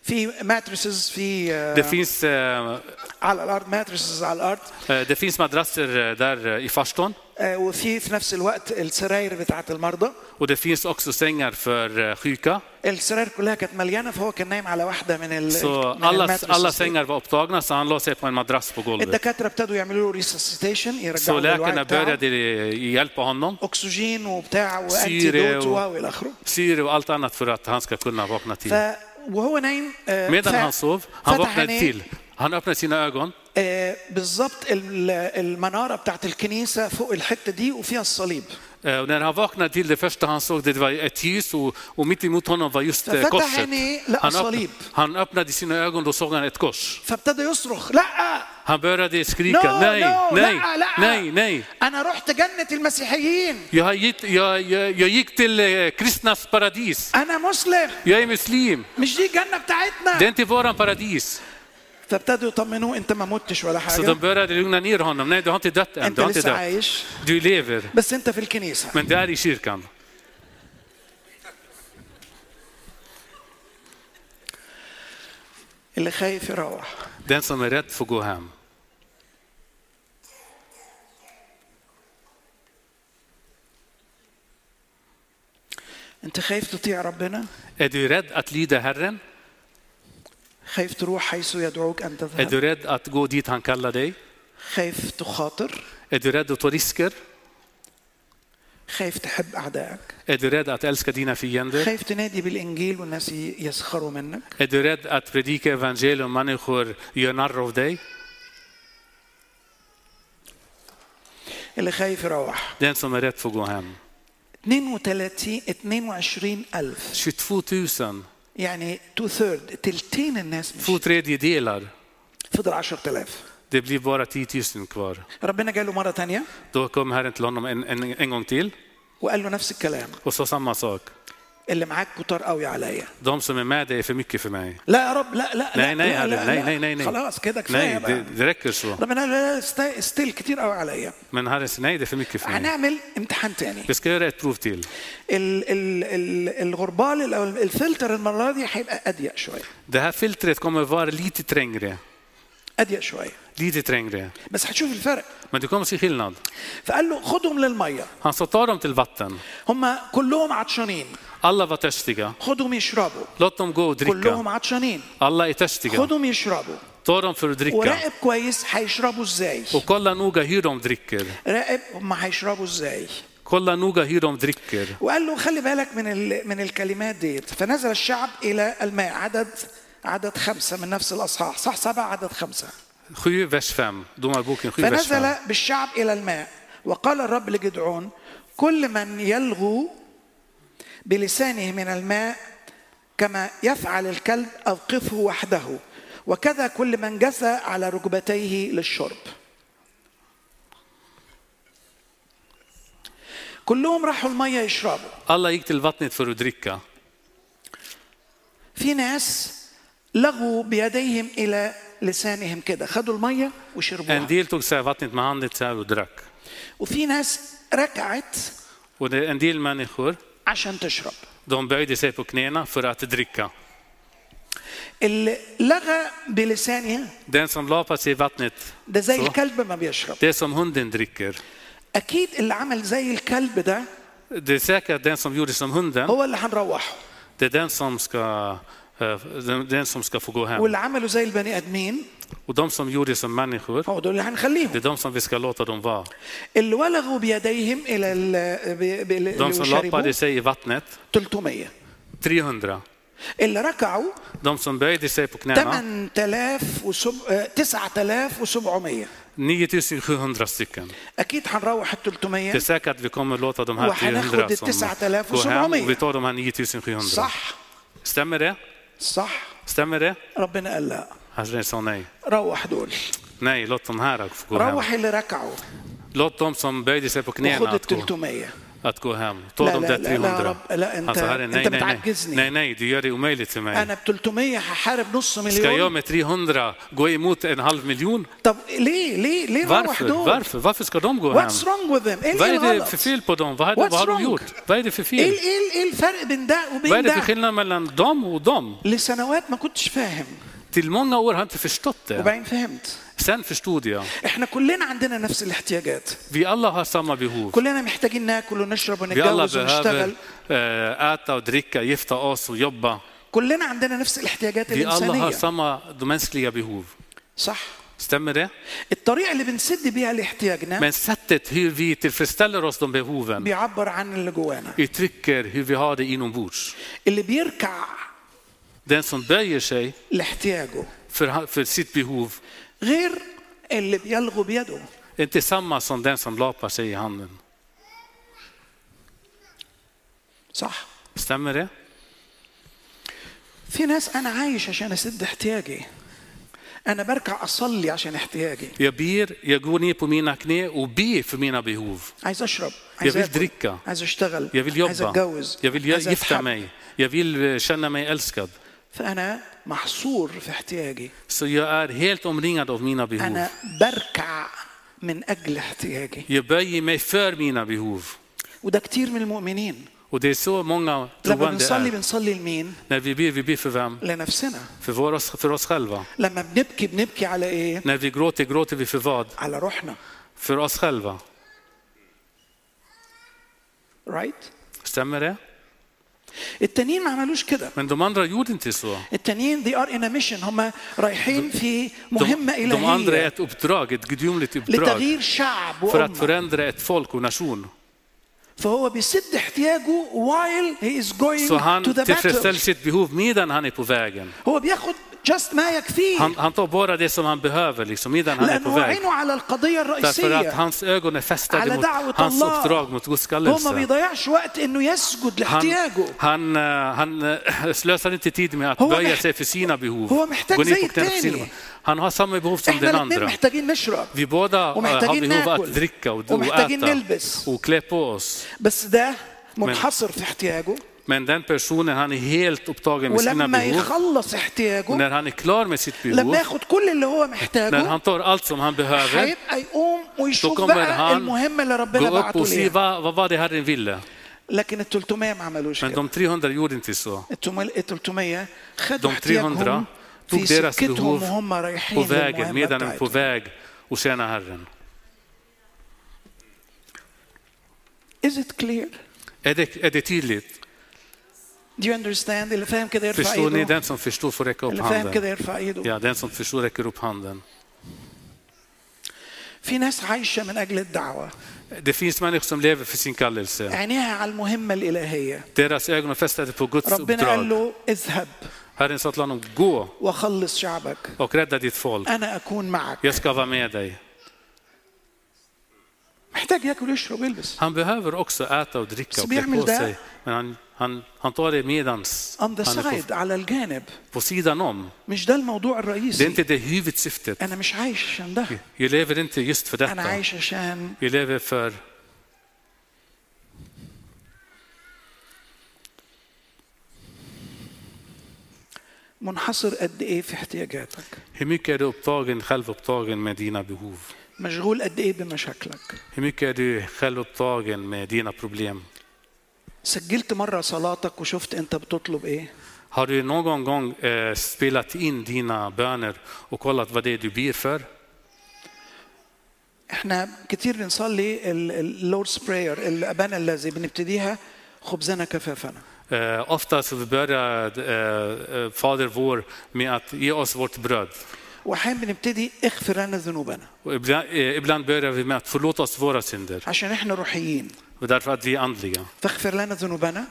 B: في ماتريسز في آه،
C: Det finns, eh, eh,
B: على الارض ماتريسز على الارض
C: det finns madrasser eh, där eh, i farstun.
B: آه، وفي في نفس الوقت السراير بتاعه المرضى
C: Och det finns också sängar för eh, sjuka.
B: السراير كلها كانت مليانه فهو كان نايم على واحده من ال
C: Så
B: من
C: alla,
B: الماترسز
C: alla
B: دي.
C: sängar var upptagna så han la sig på en madrass på golvet.
B: الدكاتره ابتدوا يعملوا له ريسسيتيشن
C: Så
B: يرجعوا له الوعي
C: läkarna
B: بتاعه
C: började eh, hjälpa honom.
B: اكسجين وبتاع
C: سيرة
B: وانتيدوت
C: و-
B: والى اخره
C: Syre och allt annat för att han ska kunna vakna
B: ف
C: till.
B: وهو نايم آه،
C: Medan
B: ف-
C: han sov, han
B: فتح
C: vaknade
B: عينيه
C: till. Han öppnade sina ögon.
B: آه، بالظبط ال- المناره بتاعت الكنيسه فوق الحته دي وفيها الصليب
C: Eh, Och när han vaknade till det första han såg det var ett ljus och, och mitt emot honom var just eh,
B: ففتح
C: korset.
B: عينيه لقى
C: Han öppnade,
B: صليب.
C: han öppnade sina ögon och såg han ett kors.
B: فابتدى يصرخ لا
C: Han började
B: No,
C: skrika nej,
B: no,
C: nej,
B: لا، لا.
C: nej, nej.
B: انا رحت جنه المسيحيين
C: Jag, har gitt, jag, jag, jag gick till eh, kristnas paradis.
B: انا مسلم
C: Jag är muslim.
B: مش دي الجنه بتاعتنا
C: Det är inte våran paradis.
B: فابتدوا يطمنوه انت ما متش ولا
C: Så de
B: حاجه
C: började lugna ner honom. Nej, du har inte dött än.
B: انت
C: Du, har inte
B: لسه
C: dött.
B: عايش
C: du lever.
B: بس انت في الكنيسه
C: Men det är i kyrkan.
B: اللي خايف يروح
C: Den som är rädd får gå hem.
B: انت خايف تطيع ربنا
C: Är du rädd att lyda Herren?
B: خايف تروح حيث يدعوك ان
C: Är
B: تذهب
C: du rädd att gå dit han kallar dig?
B: خايف تخاطر
C: Är du rädd att ta risker?
B: خايف تحب اعدائك
C: Är du rädd att älska dina fiender?
B: خايف تنادي بالانجيل والناس ي- يسخروا منك
C: Är du rädd att predika evangelium och människor gör narr av dig?
B: اللي خايف يروح
C: Den som är rädd får gå hem.
B: 32 22 الف
C: 22 000,
B: يعني تو ثيرد تلتين الناس مش
C: två tredjedelar.
B: فضل 10000
C: Det blir bara 10 000 kvar.
B: ربنا جاله مره ثانيه
C: Då kom Herren till honom en, en, en gång till
B: وقال له نفس الكلام
C: och sa samma sak.
B: اللي معاك كتار قوي عليا
C: De som är med dig är för mycket för mig.
B: لا يا رب لا لا
C: Nej,
B: لا,
C: nej
B: لا, لا,
C: Herre, nej,
B: لا.
C: nej, nej. nej.
B: خلاص كده كفايه
C: Nej, det,
B: بقى
C: det räcker så.
B: ربنا قال لا لا ستيل كتير قوي عليا
C: Men Herren säger nej, det är för mycket för mig.
B: هنعمل امتحان تاني
C: Vi ska göra ett prov till.
B: ال ال ال الغربال او الفلتر المره دي هيبقى اضيق شويه
C: Det här filtret kommer vara lite trängre.
B: اضيق شويه
C: Lite trängre.
B: بس هتشوف الفرق
C: Men du kommer se skillnad.
B: فقال له خدهم للميه
C: Han sa ta dem till vatten.
B: هم كلهم عطشانين
C: Alla var törstiga.
B: خدهم يشربوا
C: Låt dem gå och
B: كلهم
C: dricka.
B: عطشانين
C: Alla är törstiga.
B: خدهم يشربوا
C: Ta dem för att dricka.
B: وراقب كويس هيشربوا ازاي
C: Och kolla noga hur de dricker.
B: راقب هم هيشربوا ازاي
C: Kolla noga hur de dricker.
B: وقال له خلي بالك من ال- من الكلمات ديت فنزل الشعب الى الماء عدد عدد خمسة من نفس الأصحاح صح سبعة عدد خمسة
C: 7, vers 5. Domarboken 7, vers 5.
B: فنزل بالشعب إلى الماء وقال الرب لجدعون كل من يلغو بلسانه من الماء كما يفعل الكلب أوقفه وحده وكذا كل من جثى على ركبتيه للشرب كلهم راحوا المية يشربوا
C: Alla gick till vattnet för att dricka.
B: في ناس لغوا بيديهم الى لسانهم كده خدوا الميه
C: En
B: وشربوها
C: del tog så här vattnet med handen så här och drack.
B: وفي ناس ركعت
C: Och det, en del människor,
B: عشان تشرب
C: de böjde sig på knäna för att dricka.
B: اللي لغى بلسانه
C: Den som lapar sig i vattnet,
B: ده زي
C: صح.
B: الكلب ما بيشرب
C: det är som hunden dricker.
B: اكيد اللي عمل زي الكلب ده
C: Det är säkert den som gjorde som hunden,
B: هو اللي هنروحه
C: det är den som ska, eh, den, den som ska få gå hem.
B: واللي عملوا زي البني ادمين
C: Och de som gjorde som människor,
B: هو دول اللي
C: det är
B: هنخليهم
C: de som vi ska låta dem vara.
B: اللي ولغوا بيديهم الى ال- ب- ب- اللي
C: De som lapade
B: وشربوا
C: sig i vattnet,
B: 300
C: 300.
B: اللي ركعوا
C: De som böjde sig på knäna,
B: 8000 وسب- آه، 9700
C: 9700 stycken.
B: اكيد هنروح ال
C: Det
B: 300
C: är säkert att vi kommer låta de här
B: Och han har
C: 300
B: skjutit
C: som
B: till Sa'atalaf och
C: går hem
B: Sumamia.
C: och vi tar de här 9700.
B: صح
C: Stämmer det?
B: صح
C: Stämmer det? Alltså,
B: ربنا قال لا
C: Herren sa nej.
B: روح دول
C: Nej, låt de här få gå hem.
B: روح اللي ركعوا
C: Låt de som böjde sig på knäna
B: وخد ال 300
C: att gå, att gå hem. Ta
B: لا،
C: de
B: لا،
C: där
B: لا، لا،
C: 300.
B: رب- لا، أنت-
C: Han sa Herren, nej,
B: أنت
C: nej, nej,
B: بتعجزني.
C: nej, nej, du gör det omöjligt för
B: انا ب
C: mig.
B: 300 هحارب نص
C: Ska jag
B: مليون
C: med 300 gå emot en halv miljon?
B: طب ليه ليه ليه روح
C: Varför?
B: دول
C: Varför? Varför ska de gå hem?
B: واتس رونج وذ ذم
C: Vad
B: ايه
C: är det
B: الغلط
C: för fel på dem? Vad har,
B: What's
C: vad har de
B: wrong?
C: gjort? Vad är det för
B: ايه
C: fel?
B: ايه ايه الفرق بين ده
C: Vad är
B: وبين
C: det för
B: ده
C: skillnad mellan dem och dem?
B: لسنوات ما كنتش فاهم
C: Till många år har jag inte förstått det.
B: وبعدين فهمت
C: Sen förstod jag.
B: احنا كلنا عندنا نفس الاحتياجات
C: Vi alla har samma behov.
B: كلنا محتاجين ناكل ونشرب
C: Vi alla
B: ونتجوز
C: behöver
B: ونشتغل
C: eh, äta och dricka, gifta oss och jobba.
B: كلنا عندنا نفس الاحتياجات
C: Vi alla har
B: الانسانيه
C: samma de mänskliga behov.
B: صح
C: Stämmer det?
B: الطريقه اللي بنسد بيها لاحتياجنا
C: Men sättet hur vi tillfredsställer oss de behoven
B: بيعبر عن اللي جوانا
C: uttrycker hur vi har det inombords.
B: اللي بيركع
C: Den som böjer sig
B: لاحتياجه
C: för, han- för sitt behov
B: غير اللي بيلغو بيده
C: är inte samma som den som lapar sig i handen.
B: صح
C: Stämmer det?
B: في ناس انا عايش عشان اسد احتياجي انا بركع اصلي عشان احتياجي
C: Jag ber, jag går ner på mina knä och ber för mina behov.
B: عايز اشرب عايز
C: vill
B: آكل،
C: dricka.
B: عايز اشتغل
C: Jag vill
B: عايز
C: jobba,
B: اتجوز
C: jag vill
B: عايز
C: gifta
B: أتحب.
C: mig, jag vill eh, känna mig älskad.
B: فانا محصور في احتياجي
C: Så jag är helt omringad av mina behov.
B: انا بركع من اجل احتياجي
C: Jag böjer mig för mina behov.
B: وده كتير من المؤمنين
C: Och det är så många
B: لما
C: troende
B: بنصلي
C: är.
B: بنصلي لمين
C: När vi ber, vi ber för vem?
B: لنفسنا
C: För, vår, för oss själva.
B: لما بنبكي بنبكي على ايه
C: När vi gråter, gråter vi för vad?
B: على روحنا
C: För oss själva.
B: رايت
C: Stämmer det?
B: التانيين ما عملوش كده
C: Men de andra gjorde inte så.
B: التانيين they are in a mission هم رايحين في
C: De,
B: مهمه
C: de andra är
B: الهيه
C: ett uppdrag, ett gudomligt uppdrag.
B: لتغيير شعب
C: För att
B: وامه
C: förändra ett folk och nation.
B: فهو بيسد احتياجه while he is going
C: Så han
B: to the
C: tillfredsställer
B: battle
C: sitt behov medan han är på vägen.
B: هو بياخد just ما
C: Han,
B: يكفيه
C: han tar bara det som han behöver liksom, medan han är
B: لأن
C: på
B: هو
C: väg.
B: عينه على القضيه
C: Därför att
B: الرئيسيه
C: hans ögon är
B: على
C: fästade mot
B: دعوه
C: hans
B: الله
C: uppdrag, mot Guds
B: هو ما
C: kallelse.
B: بيضيعش وقت انه يسجد
C: Han,
B: لاحتياجه
C: han, eh, han eh, slösar inte tid med att
B: هو
C: böja
B: محت-
C: sig för sina behov.
B: هو محتاج
C: Gå ner
B: زي
C: på knäna för sina
B: التاني.
C: behov. Han har samma behov som
B: احنا
C: den
B: الاثنين
C: andra.
B: محتاجين نشرب
C: Vi båda eh, har
B: ومحتاجين
C: behov att
B: ناكل
C: dricka och, och
B: ومحتاجين
C: äta
B: نلبس
C: och klä på oss.
B: بس ده منحصر في احتياجه
C: Men den personen, han är helt upptagen med sina
B: ولما
C: behov.
B: يخلص احتياجه
C: När han är klar med sitt behov,
B: لما ياخد كل اللي هو
C: när
B: محتاجه
C: han tar allt som han behöver,
B: هيبقى يقوم
C: då
B: ويشوف
C: kommer
B: بقى
C: han
B: المهمه اللي ربنا
C: gå upp
B: بعته
C: och se
B: ليه
C: vad, vad var det Herren ville.
B: لكن ال 300 ما عملوش
C: Men
B: كده
C: de 300 gjorde inte så.
B: ال 300 خدوا
C: De
B: احتياجهم
C: 300
B: في
C: tog deras
B: سكتهم
C: behov
B: وهم
C: på
B: رايحين
C: vägen
B: للمهمه
C: medan de är på
B: بتاعتهم
C: väg och tjäna Herren.
B: Is it clear?
C: Är det, är det tydligt?
B: Do you understand? اللي فاهم كده يرفع
C: Förstår ni?
B: ايده
C: Den som förstår får räcka upp
B: اللي فاهم كده
C: handen.
B: يرفع ايده
C: Ja, den som förstår räcker upp handen.
B: في ناس عايشه من اجل الدعوه
C: Det finns människor som lever för sin kallelse.
B: عينيها على المهمه الالهيه
C: Deras ögon är fästade på Guds
B: ربنا قال
C: uppdrag.
B: له اذهب
C: Herren sa till honom, gå
B: وخلص شعبك
C: och rädda ditt folk.
B: انا اكون معك
C: Jag ska vara med dig.
B: محتاج ياكل ويشرب ويلبس
C: Han behöver också äta och dricka och klä på sig. Men han, han, han tar det medans
B: on the
C: han är
B: side
C: på,
B: على الجانب
C: på sidan om.
B: مش ده الموضوع
C: Det är
B: الرئيسي
C: inte det huvudsyftet.
B: انا مش عايش عشان ده
C: Jag lever inte just för
B: انا
C: detta.
B: عايش عشان
C: Vi lever för...
B: منحصر قد ايه في احتياجاتك
C: Hur mycket är du upptagen, självupptagen med dina behov?
B: مشغول قد ايه بمشاكلك
C: Hur mycket är du självupptagen med dina problem?
B: سجلت مره صلاتك وشفت انت بتطلب ايه
C: Har du någon gång eh, spelat in dina böner och kollat vad det är du ber för?
B: احنا كتير بنصلي اللوردز براير الابانا الذي بنبتديها خبزنا كفافنا
C: Eh, ofta så vi börjar eh, eh, Fader vår med att ge oss vårt bröd.
B: واحيانا بنبتدي اغفر لنا ذنوبنا
C: Och ibland, eh, ibland börjar vi med att förlåta oss våra synder,
B: عشان احنا روحيين
C: och därför att vi är andliga.
B: فاغفر لنا ذنوبنا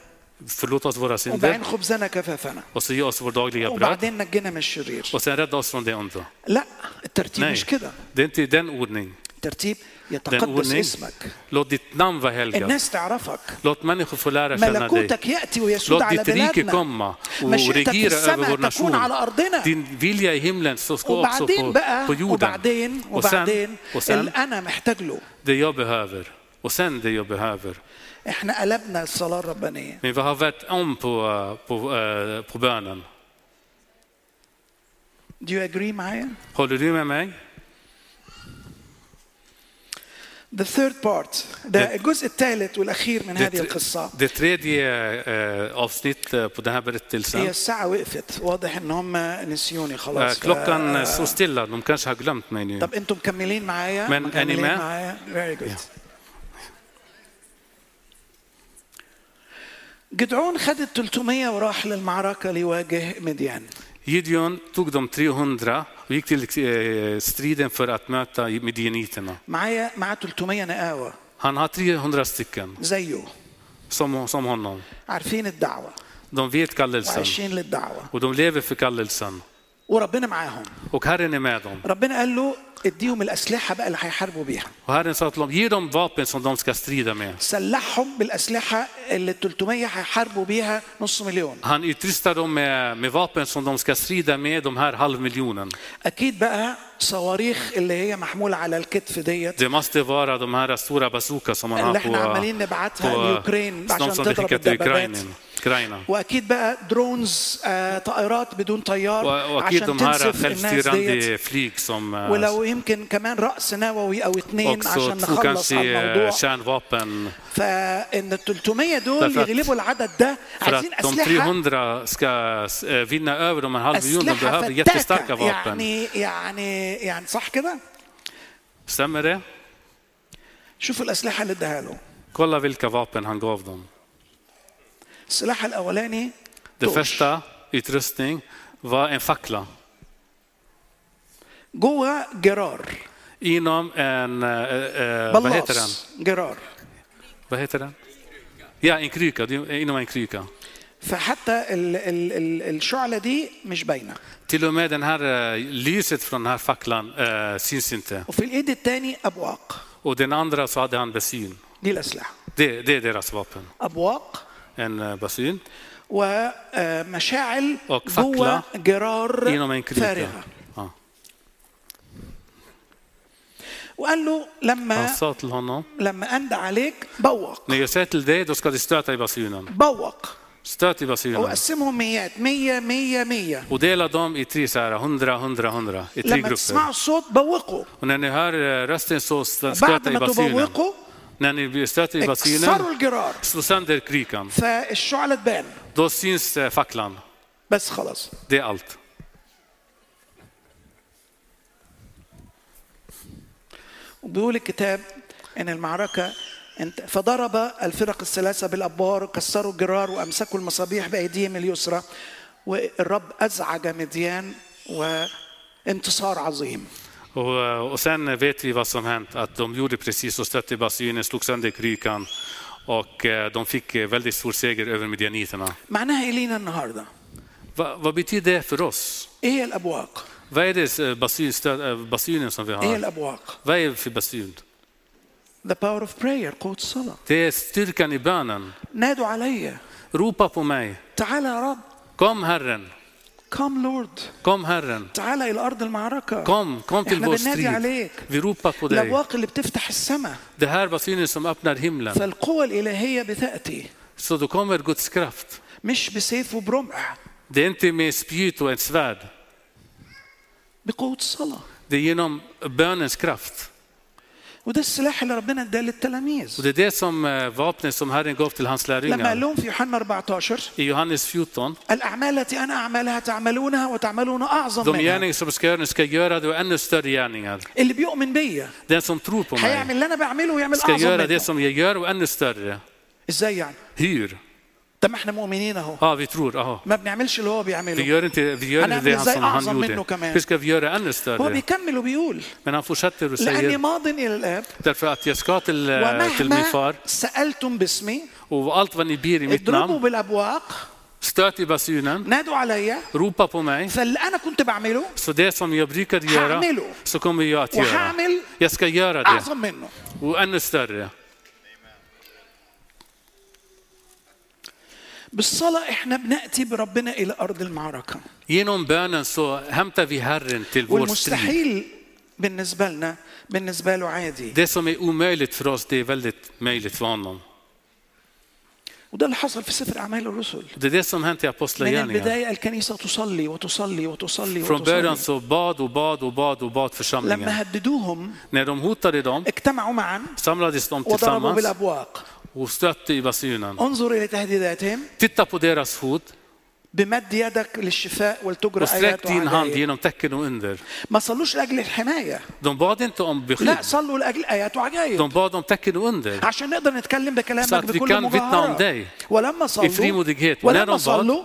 C: Förlåt oss våra
B: وبعدين
C: synder
B: خبزنا كفافنا
C: och så ge oss vårt dagliga bröd
B: وبعدين نجينا من الشرير
C: och sen rädda oss från det onda.
B: لا الترتيب
C: Nej,
B: مش كده
C: det är inte den ordning.
B: الترتيب
C: Den
B: يتقدس
C: ordning.
B: اسمك
C: Låt ditt namn vara helgat.
B: الناس تعرفك
C: Låt människor få lära känna dig.
B: ملكوتك ياتي ويسود
C: Låt
B: على
C: ditt rike
B: بلادنا
C: komma och
B: مشيئتك في
C: regera över
B: السماء
C: vår
B: تكون
C: nation.
B: على ارضنا
C: Din vilja i himlen så ska också
B: وبعدين
C: på,
B: بقى
C: på jorden.
B: وبعدين
C: Och sen,
B: وبعدين
C: och sen
B: اللي انا محتاج له
C: det jag behöver. Och sen det jag behöver.
B: احنا قلبنا الصلاه الربانيه
C: Men vi har vänt om på, eh, på, eh, på bönen.
B: Do you agree معايا؟
C: Håller du med mig?
B: The third part ده الجزء الثالث والاخير من
C: Det,
B: هذه القصه
C: det tredje eh, avsnitt eh, på den här
B: هي
C: berättelsen.
B: الساعه وقفت واضح ان هم نسيوني
C: Eh,
B: خلاص آه،
C: Klockan eh, står stilla, de kanske har glömt mig nu.
B: طب انتم مكملين معايا
C: من
B: مكملين
C: أنيمة؟
B: معايا فيري جود جدعون خد ال 300 وراح للمعركه ليواجه مديان
C: Gideon tog de 300 och gick till eh, striden för att möta midjaniterna.
B: معايا معاه 300 نقاوه
C: Han har 300 stycken
B: زيه
C: som, som honom.
B: عارفين الدعوه
C: De vet kallelsen
B: وعايشين للدعوه
C: och de lever för kallelsen.
B: وربنا معاهم
C: Och Herren är med dem.
B: ربنا قال له اديهم الاسلحه بقى اللي هيحاربوا بيها
C: Och Herren sa till dem, ge dem vapen som de ska strida med.
B: سلحهم بالاسلحه اللي 300 هيحاربوا بيها نص مليون
C: Han utrustar dem med, med vapen som de ska strida med, de här halvmiljonen.
B: اكيد بقى صواريخ اللي هي محموله على الكتف ديت
C: Det måste vara de här stora bazooka som man
B: اللي
C: har
B: احنا عمالين
C: på,
B: نبعتها
C: på
B: ليوكرين
C: de
B: عشان
C: som de
B: تضرب
C: skickar till
B: الدبابات
C: Ukraina. Ukraina.
B: واكيد بقى درونز آه طائرات بدون طيار
C: Och, och
B: عشان
C: de här
B: تنسف الناس ديت
C: självstyrande flyg som eh,
B: ولو يمكن كمان راس نووي او اتنين
C: också
B: عشان
C: två
B: نخلص
C: kanske
B: على
C: eh,
B: الموضوع
C: kärnvapen.
B: فان ال 300 دول
C: Därför att-
B: يغلبوا العدد ده
C: För att
B: عايزين
C: de
B: اسلحه
C: 300 ska eh, vinna över de här halvmiljonen, de
B: اسلحه
C: behöver jättestarka
B: فتاكه
C: vapen.
B: يعني يعني يعني صح كده؟
C: Stämmer det?
B: شوفوا الاسلحه اللي اداها له
C: Kolla vilka vapen han gav dem.
B: السلاح الاولاني
C: Det
B: طوش.
C: första utrustning var en fackla
B: جوه جرار
C: inom en... eh, eh, vad heter den?
B: بلاص جرار
C: Vad heter den? Ja, en kruka. Det är Inom en kruka.
B: فحتى ال ال ال الشعله دي مش باينه
C: Till och med den här eh, lyset från den här facklan eh, syns inte.
B: وفي الايد الثاني ابواق
C: Och den andra så hade han basyn.
B: دي الاسلحه
C: Det, det är deras vapen.
B: ابواق
C: En eh, basyn
B: ومشاعل
C: Och fackla
B: جوه
C: inom en
B: جرار
C: kruka.
B: فارغه
C: Ja.
B: وقال له
C: Han
B: لما
C: sa till honom,
B: لما اندى عليك بوق
C: när jag säger till dig då ska du stöta i basunen.
B: بوق
C: Stöt i
B: هو
C: basunen.
B: قسمهم ميات 100 100 100
C: Och dela dem i tre så här, 100, 100, 100. I tre
B: لما
C: grupper.
B: تسمعوا الصوت بوقوا
C: Och när ni hör eh, rösten så
B: بعد
C: stöta i
B: ما
C: basunen.
B: تبوقوا
C: När ni blir stöter i
B: اكسروا
C: basunen,
B: الجرار
C: slå sönder krykan.
B: فالشعله تبان
C: Då syns eh, facklan.
B: بس خلاص
C: Det är allt.
B: وبيقول الكتاب ان المعركه انت فضرب الفرق الثلاثه بالابوار وكسروا الجرار وامسكوا المصابيح بايديهم اليسرى والرب ازعج مديان وانتصار عظيم
C: Och, och sen vet vi vad som hänt, att de gjorde precis så, stötte basunen, slog sönder krykan och eh, de fick eh, väldigt stor seger över midjaniterna.
B: معناها ايه لينا النهارده
C: Va, vad betyder det för oss?
B: ايه هي الابواق
C: Vad är det eh, basun, stö, eh, basunen som vi
B: ايه هي
C: har?
B: الابواق
C: Vad är det för basun?
B: ذا باور اوف براير قوه الصلاه
C: Det är styrkan i bönen.
B: نادوا عليا
C: Ropa på mig.
B: تعالى يا رب
C: Kom Herren,
B: كم لورد
C: kom Herren.
B: تعالى الى ارض المعركه
C: Kom, kom till
B: احنا
C: vår
B: بننادي
C: strid.
B: عليك.
C: Vi ropar på dig.
B: الابواق اللي بتفتح السماء
C: Det här basunen som öppnar himlen.
B: فالقوه الالهيه بتاتي
C: Så då kommer Guds kraft.
B: مش بسيف وبرمح
C: Det är inte med spjut och ett svärd.
B: بقوه الصلاه
C: Det är genom bönens kraft.
B: وده السلاح اللي ربنا اداه
C: Och
B: للتلاميذ
C: det är det som eh, vapnet som Herren gav till hans
B: لما قال
C: lärjungar.
B: لهم في يوحنا 14
C: I Johannes 14,
B: الاعمال التي انا اعملها تعملونها وتعملون اعظم
C: de
B: منها
C: gärningar som ska göra, ni ska göra det och ännu större gärningar.
B: اللي بيؤمن بيا
C: Den som tror på
B: هيعمل
C: mig
B: اللي انا بعمله ويعمل
C: ska
B: اعظم
C: göra det
B: منه
C: som jag gör och ännu större.
B: ازاي يعني
C: Hur?
B: طب ما احنا مؤمنين اهو
C: Ja, vi tror. Aha.
B: ما بنعملش اللي هو
C: Vi
B: بيعمله
C: gör inte vi gör
B: Han
C: inte
B: använder
C: det han,
B: sig
C: som han
B: ensam minno
C: gjorde.
B: kamen.
C: Hur ska vi göra ännu
B: هو
C: större?
B: بيكمل وبيقول
C: Men han fortsätter och
B: لاني
C: säger,
B: ماض الى الاب
C: därför att jag ska till, eh, till min far
B: ومهما سالتم باسمي
C: och allt vad ni ber i mitt
B: اضربوا
C: namn,
B: بالابواق
C: stöt i basunen,
B: نادوا عليا
C: ropa på mig.
B: فاللي انا كنت بعمله
C: Så det som jag brukade göra,
B: Ha'amilu.
C: så kommer jag att
B: Och Alltså-
C: göra.
B: ha'amil-
C: Jag ska göra det.
B: اعظم منه
C: Och ännu större.
B: بالصلاه احنا بناتي بربنا الى ارض المعركه
C: Genom bönen så hämtar vi Herren till vår strid.
B: والمستحيل بالنسبه لنا بالنسبه له عادي
C: Det som är omöjligt för oss, det är väldigt möjligt för honom.
B: وده اللي حصل في سفر اعمال الرسل
C: Det är det som hänt i
B: من
C: Apostlagärningarna.
B: البدايه الكنيسه تصلي وتصلي وتصلي
C: Från början
B: وتصلي
C: så bad och bad och bad och bad församlingen.
B: لما هددوهم
C: När de hotade dem
B: اجتمعوا معا
C: samlades de
B: وضربوا
C: tillsammans
B: بالابواق
C: och stötte i basunen.
B: انظر الى تهديداتهم
C: Titta på deras hot
B: بمد يدك للشفاء ولتجرى
C: och
B: ايات
C: sträck din hand
B: وعجائب
C: genom tecken och under.
B: ما صلوش لاجل الحمايه
C: De bad inte om beskydd,
B: لا صلوا لاجل ايات وعجائب
C: de bad om tecken och under.
B: عشان نقدر نتكلم
C: Så
B: بكلامك
C: att vi
B: بكل
C: kan vittna om
B: مجاهرة
C: dig.
B: ولما صلوا
C: frimodighet. När
B: ولما
C: de bad-
B: صلوا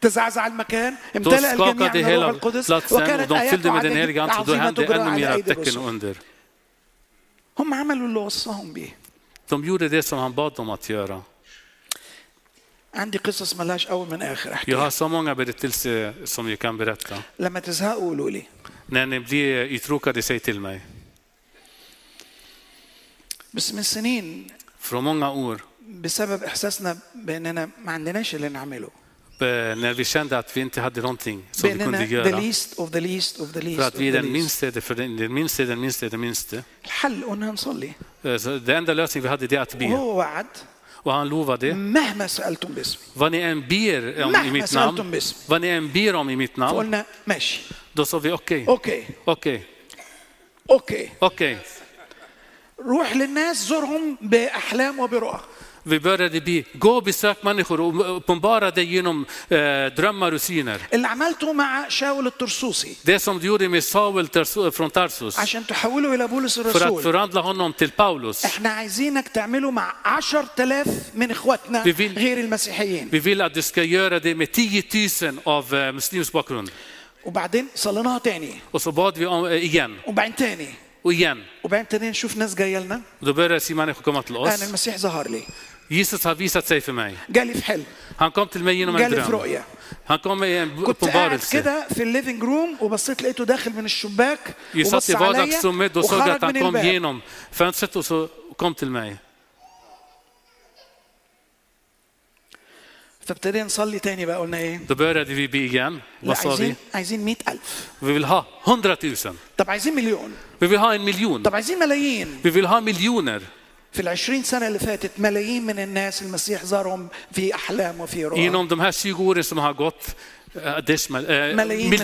B: تزعزع المكان امتلأ الجميع
C: skakade
B: من روح
C: hela
B: القدس
C: platsen och
B: وكانت
C: de
B: آيات
C: fyllde med den
B: وعجائب
C: heliga anden. Då
B: عظيمة
C: hände
B: تجرى
C: ännu
B: على
C: mera
B: أيدي
C: tecken Alltså, och
B: الرسل
C: under.
B: هم عملوا اللي وصاهم بيه
C: De gjorde det som han bad dem att göra.
B: عندي قصص ملهاش أول من آخر أحكي
C: Jag har så många berättelser som jag kan berätta.
B: لما تزهقوا قولوا لي
C: När ni blir uttråkade, säg till mig.
B: بس من سنين
C: Från många år,
B: بسبب إحساسنا بأننا ما عندناش اللي نعمله
C: eh, när vi kände att vi inte hade någonting som vi
B: بأننا
C: kunde
B: the
C: göra.
B: least of the least of the least
C: För att
B: of
C: vi är
B: the
C: den
B: least.
C: minsta, för den den minsta, den minsta, den minsta.
B: الحل قلنا نصلي
C: Eh, Så det enda lösningen vi hade det är att be.
B: وهو وعد
C: Och han
B: Mm.
C: lovade,
B: مهما سألتم باسمي
C: vad ni än ber om
B: نعم،
C: i mitt
B: سألتم
C: namn,
B: باسم.
C: vad ni än ber om i mitt namn,
B: فقلنا ماشي
C: då sa vi okej,
B: آه. أوكي
C: okej,
B: أوكي
C: okej.
B: روح للناس زورهم بأحلام وبرؤى
C: Vi började be, gå och besök människor och uppenbara dig genom eh, drömmar och syner.
B: اللي عملته مع شاول الترسوسي
C: Det som du gjorde med Saul Tarsu- från Tarsus,
B: عشان تحوله إلى بولس
C: för att
B: الرسول
C: förvandla honom till Paulus.
B: احنا عايزينك تعمله مع عشر تلاف من اخواتنا
C: بيفيل-
B: غير المسيحيين
C: Vi vill att du ska göra det med 10 000 av eh, muslimsk bakgrund.
B: وبعدين صليناها تاني
C: Och så bad vi om, eh, igen
B: وبعدين تاني
C: och igen.
B: وبعدين تاني نشوف ناس جايه لنا
C: Och då började se människor komma till
B: انا
C: oss.
B: المسيح ظهر لي
C: Jesus har visat sig för mig.
B: جالي في حلم
C: Han kom till mig genom en
B: جالي في
C: dröm.
B: رؤيه
C: Han kom med en
B: كنت قاعد
C: uppenbarelse.
B: كده في الليفنج روم وبصيت لقيته داخل من الشباك
C: Jag satt
B: وبص
C: i
B: عليا
C: vardagsrummet och såg
B: وخرج
C: att han
B: من
C: kom
B: الباب
C: genom fönstret och så kom till mig.
B: فابتدينا نصلي تاني بقى قلنا ايه
C: Då började vi be igen.
B: لا
C: Vad sa vi?
B: عايزين عايزين 100000
C: Vi vill ha 100 000.
B: طب عايزين مليون
C: Vi vill ha en miljon.
B: طب عايزين ملايين
C: Vi vill ha miljoner.
B: في ال 20 سنه اللي فاتت ملايين من الناس المسيح زارهم في احلام وفي رؤى
C: Inom de här 20 åren som har gått, eh, decimal, eh,
B: Miljoner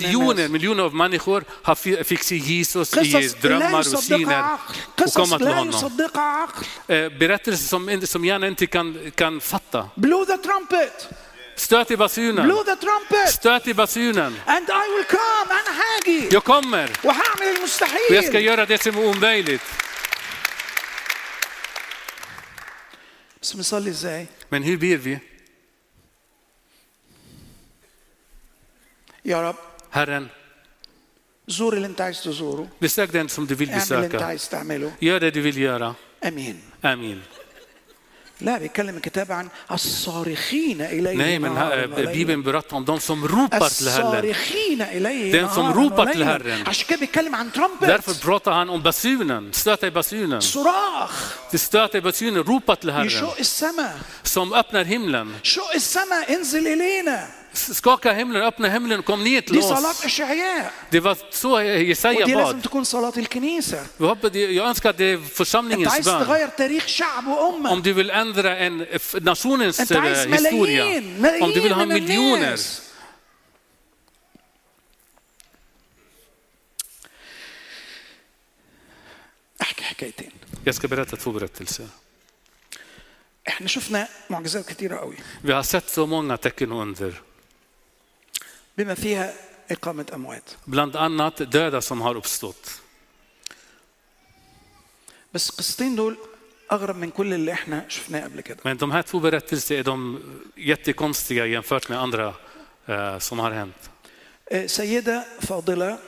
B: människor.
C: miljoner, miljoner av människor har fi- fick se Jesus i
B: قصص لا
C: drömmar och
B: يصدقها
C: syner
B: عقل
C: och
B: قصص
C: komma till
B: لا
C: honom.
B: يصدقها عقل
C: Eh, Berättelser som, inte- som gärna inte kan, kan fatta.
B: blow the trumpet
C: Stöt i basunen!
B: blow the trumpet
C: Stöt i basunen!
B: and I will come انا هاجي
C: Jag kommer
B: وهعمل
C: och jag ska
B: المستحيل
C: göra det som är omöjligt.
B: بس بنصلي ازاي
C: Men hur ber vi?
B: يا رب
C: Herren,
B: زور اللي انت عايز تزوره
C: besök den som du vill
B: اعمل اللي انت
C: besöka.
B: عايز تعمله
C: Gör det du vill göra.
B: امين
C: Amen.
B: لا بيتكلم الكتاب عن الصارخين آه، اليه
C: Nej, men
B: نهاراً
C: här, eh,
B: وليلاً.
C: Bibeln berättar om de som ropar till Herren.
B: الصارخين اليه
C: Den som
B: نهاراً
C: ropar till
B: وليلاً.
C: Herren.
B: عشان كده بيتكلم عن
C: Därför
B: ترامبت
C: pratar han om basunen, stöta i basunen.
B: صراخ
C: Det stöter i basunen, ropa till Herren
B: يشق السماء
C: som öppnar himlen.
B: شق السماء انزل الينا
C: Skaka himlen, öppna himlen, kom ner till
B: دي صلاه
C: oss.
B: اشعياء
C: Det var så Jesaja
B: ودي لازم
C: bad.
B: تكون صلاة الكنيسة
C: Jag hoppas- Jag önskar att det är
B: انت
C: församlingens
B: عايز
C: bön.
B: تغير تاريخ شعب وأمة
C: Om du vill ändra en, f- nationens
B: انت عايز
C: eh, historia,
B: ملايين
C: om du vill ha
B: ملايين من
C: miljoner,
B: الناس احكي حكايتين
C: jag ska berätta två berättelser.
B: احنا شفنا معجزات كتيرة قوي
C: Vi har sett så många tecken och under,
B: بما فيها إقامة أموات
C: bland annat döda som har uppstått.
B: بس قصتين دول أغرب من كل اللي احنا شفناه قبل كده
C: Men de här två berättelserna är de jättekonstiga jämfört med andra eh, som har hänt.
B: آه، سيدة فاضلة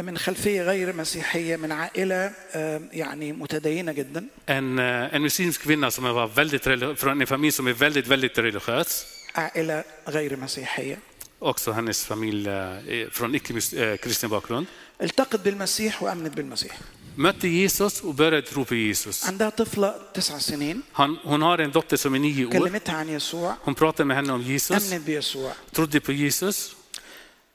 B: من خلفية غير مسيحية من عائلة آه، يعني متدينة جدا
C: En, eh, en muslimsk kvinna som var väldigt reli- från en familj som är väldigt, väldigt religiös.
B: عائلة غير مسيحية
C: Också hennes familj eh, är från icke-kristen bakgrund.
B: التقت بالمسيح وأمنت بالمسيح
C: Mötte Jesus och började tro på Jesus.
B: عندها طفلة تسع سنين
C: Han, hon har en dotter som är nio år.
B: كلمتها عن يسوع
C: Hon pratade med henne om Jesus,
B: أمنت بيسوع
C: trodde på Jesus.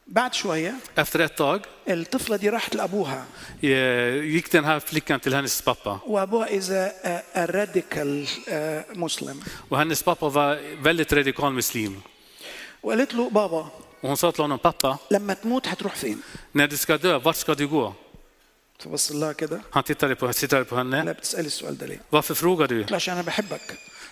B: بعد شوية
C: Efter ett tag
B: الطفلة دي راحت لأبوها
C: eh, gick den här flickan till hennes pappa.
B: وأبوها إذا آه، راديكال آه، مسلم
C: Och hennes pappa var väldigt radikal muslim.
B: وقالت له بابا
C: Och hon sa till honom, pappa,
B: لما تموت هتروح فين؟
C: när du ska dö, vart ska du gå?
B: تبص لها كده
C: Han tittade på, tittade på
B: لا
C: henne.
B: بتسألي السؤال ده ليه؟
C: Varför frågar du?
B: قلت له عشان أنا بحبك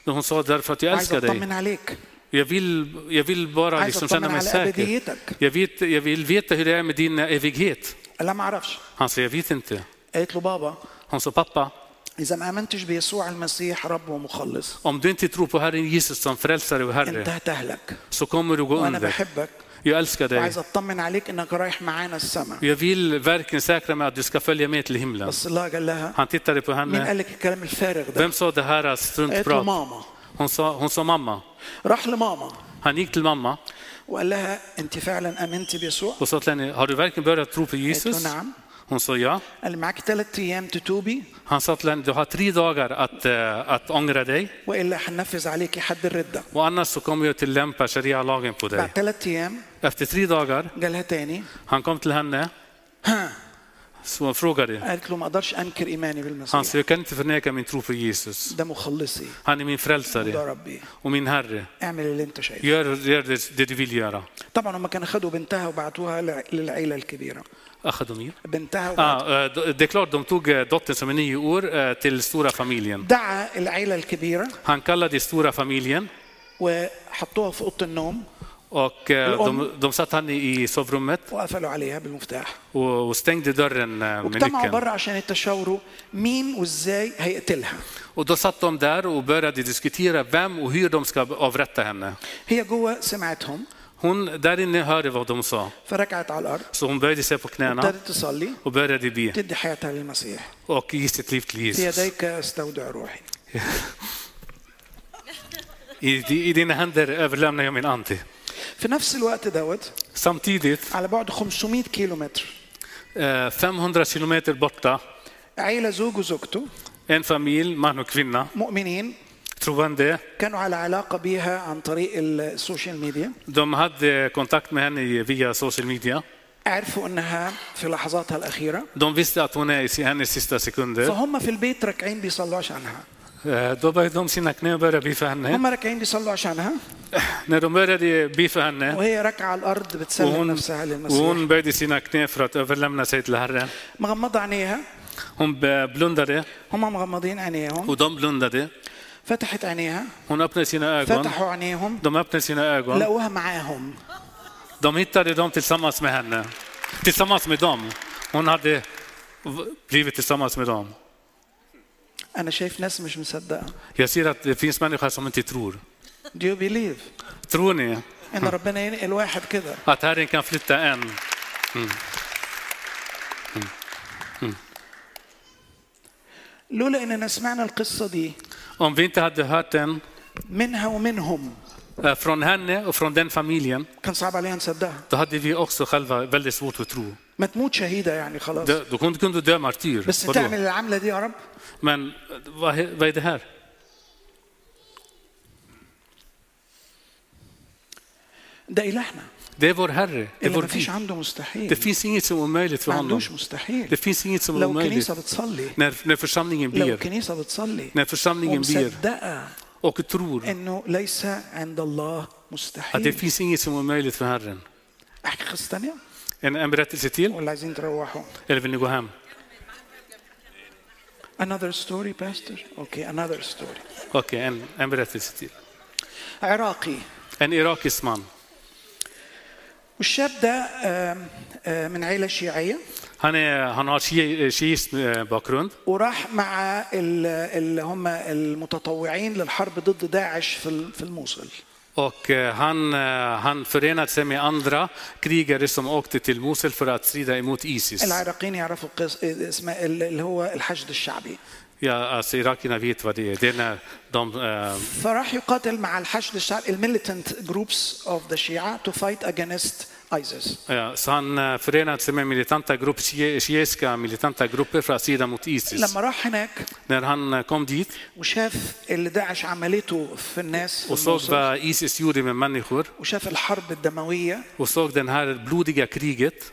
C: Hon sa, därför att jag
B: عايز
C: älskar dig.
B: أطمن عليك
C: Jag vill, jag vill bara
B: عايز
C: liksom
B: أطمن
C: känna mig
B: على
C: säker.
B: أبديتك.
C: Jag, vet, jag vill veta hur det är med din evighet.
B: قال لها ما أعرفش
C: Han sa, jag vet inte.
B: قالت له بابا
C: Hon sa, pappa,
B: إذا ما آمنتش بيسوع المسيح رب ومخلص
C: om du inte tror på Herren Jesus som frälsare och
B: أنت
C: Herre
B: هتهلك
C: så kommer du gå
B: وأنا
C: under.
B: بحبك
C: Jag älskar dig.
B: وعايز اطمن عليك انك رايح معانا السما
C: Jag vill verkligen säkra mig att du ska följa med till himlen.
B: بس الله قال لها
C: Han tittade på
B: مين
C: henne.
B: قال لك الكلام الفارغ ده
C: Vem sa det här
B: قالت له
C: struntprat?
B: ماما
C: Hon sa, hon sa mamma.
B: راح لماما
C: Han gick till mamma
B: وقال لها انت فعلا امنت بيسوع
C: och sa till henne, har du verkligen börjat tro på
B: قالت
C: Oh, Jesus?
B: له نعم
C: Hon sa ja.
B: قال لي معك ثلاثة ايام تتوبي
C: Han sa till henne, du har tre dagar att, eh, att ångra dig
B: والا حنفذ عليك حد الرده
C: och annars så kommer jag tillämpa sharia-lagen på
B: بعد
C: dig.
B: ثلاثة ايام
C: Efter tre dagar,
B: قالها تاني
C: han kom till henne så han frågade.
B: قالت له ما اقدرش انكر ايماني
C: Han
B: بالمسيح
C: sa, jag kan inte förneka min tro på Jesus.
B: ده مخلصي
C: Han är min
B: ده
C: frälsare
B: ربي
C: och min herre.
B: اعمل اللي انت شايفه
C: Gör, gör det, det du vill göra.
B: طبعا هم كانوا خدوا بنتها وبعتوها لع- للعيله الكبيره
C: Achadomir.
B: بنتها وبعت-
C: Ah, eh, det är klart, de tog eh, dottern som är nio år eh, till stora familjen.
B: دعا العيله الكبيره
C: Han kallade stora familjen
B: وحطوها في اوضه النوم
C: och eh, de, de satt han i sovrummet
B: وقفلوا عليها بالمفتاح
C: och, och stängde dörren eh, med
B: واجتمعوا
C: nyckeln.
B: بره عشان يتشاوروا مين وازاي هيقتلها
C: Och då satt de där och började diskutera vem och hur de ska avrätta henne.
B: هي جوه سمعتهم
C: Hon där inne hörde vad de sa,
B: فركعت على الارض
C: så hon böjde sig på knäna
B: ابتدت تصلي
C: och började be
B: تدي حياتها للمسيح
C: och ge sitt liv till
B: في
C: Jesus.
B: يديك استودع روحي
C: I, di- I dina händer överlämnar jag min ande.
B: في نفس الوقت دوت
C: Samtidigt,
B: على بعد 500 كيلو متر
C: eh, 500 kilometer borta,
B: عيلة زوج وزوجته
C: en familj, man och kvinna,
B: مؤمنين
C: troende,
B: كانوا على علاقة بيها عن طريق السوشيال ميديا
C: de hade kontakt med henne i- via social media.
B: عرفوا انها في لحظاتها الاخيره
C: De visste att hon är i si- hennes sista sekunder.
B: فهم في البيت راكعين بيصلوا عشانها
C: Eh, Då böjde de sina knän och började be för henne.
B: هم راكعين بيصلوا عشانها
C: När de började be för henne
B: وهي راكعه على الارض بتسلم
C: إيه؟ وهون,
B: نفسها للمسيح
C: وهون böjde sina knä för att överlämna sig till Herren.
B: مغمضه عينيها
C: Hon b- blundade
B: هم مغمضين عينيهم
C: och de blundade.
B: فتحت عينيها
C: Hon öppnade sina ögon.
B: فتحوا عينيهم
C: De öppnade sina ögon.
B: لقوها معاهم
C: De hittade dem tillsammans med henne. Tillsammans med dem. Hon hade v- blivit tillsammans med dem.
B: انا شايف ناس مش مصدقه
C: Jag ser att det finns människor som inte tror.
B: Do you believe
C: Tror ni
B: ان ربنا ينقل واحد كده
C: att Herren kan flytta en?
B: لولا اننا سمعنا القصه دي
C: Om vi inte hade hört den
B: منها ومنهم
C: eh, från henne och från den familjen,
B: كان صعب علينا نصدقها
C: då hade vi också själva väldigt svårt att tro.
B: ما تموت شهيده يعني خلاص
C: Dö- Då kunde kunde du dö martyr.
B: بس
C: Vadå?
B: تعمل العمله دي يا رب
C: Men eh, vad, he- vad är det här?
B: ده الهنا
C: Det är vår Herre, det är
B: اللي
C: vår
B: ما فيش
C: Gud.
B: عنده
C: Det
B: مستحيل
C: finns inget som är omöjligt för
B: ما
C: honom.
B: عندوش
C: Det
B: مستحيل
C: finns inget som är
B: لو
C: omöjligt.
B: الكنيسه بتصلي
C: När, när församlingen
B: لو
C: ber,
B: الكنيسه بتصلي
C: när församlingen ber
B: ومصدقه
C: och tror
B: انه ليس عند الله
C: att det
B: مستحيل
C: finns inget som är omöjligt för Herren.
B: احكي قصه ثانيه
C: En, en berättelse till,
B: ولا عايزين تروحوا
C: eller vill ni gå hem?
B: another story pastor okay another story
C: Okej, en, en berättelse till.
B: عراقي
C: En irakisk man.
B: والشاب ده آم، آم، من عيله شيعيه
C: Han, är, han har shia- shiism eh, bakgrund
B: وراح مع ال- اللي هم المتطوعين للحرب ضد داعش في ال- في الموصل
C: och eh, han, eh, han förenade sig med andra krigare som åkte till Mosul för att strida emot Isis.
B: العراقيين يعرفوا القص... اسمه اللي هو الحشد الشعبي
C: Ja, alltså irakierna vet vad det är. Det är när de... Eh,
B: فراح يقاتل مع الحشد الشعبي الميليتنت جروبس اوف ذا شيعة تو فايت اجينست ايسيس
C: ja, så han eh, förenade sig med militanta grupper, shiiska militanta grupper för att strida mot Isis.
B: لما راح هناك
C: När han eh, kom dit
B: وشاف اللي داعش عملته في الناس في
C: och såg
B: الموصل
C: vad Isis gjorde med människor
B: وشاف الحرب الدمويه
C: och såg det här blodiga kriget,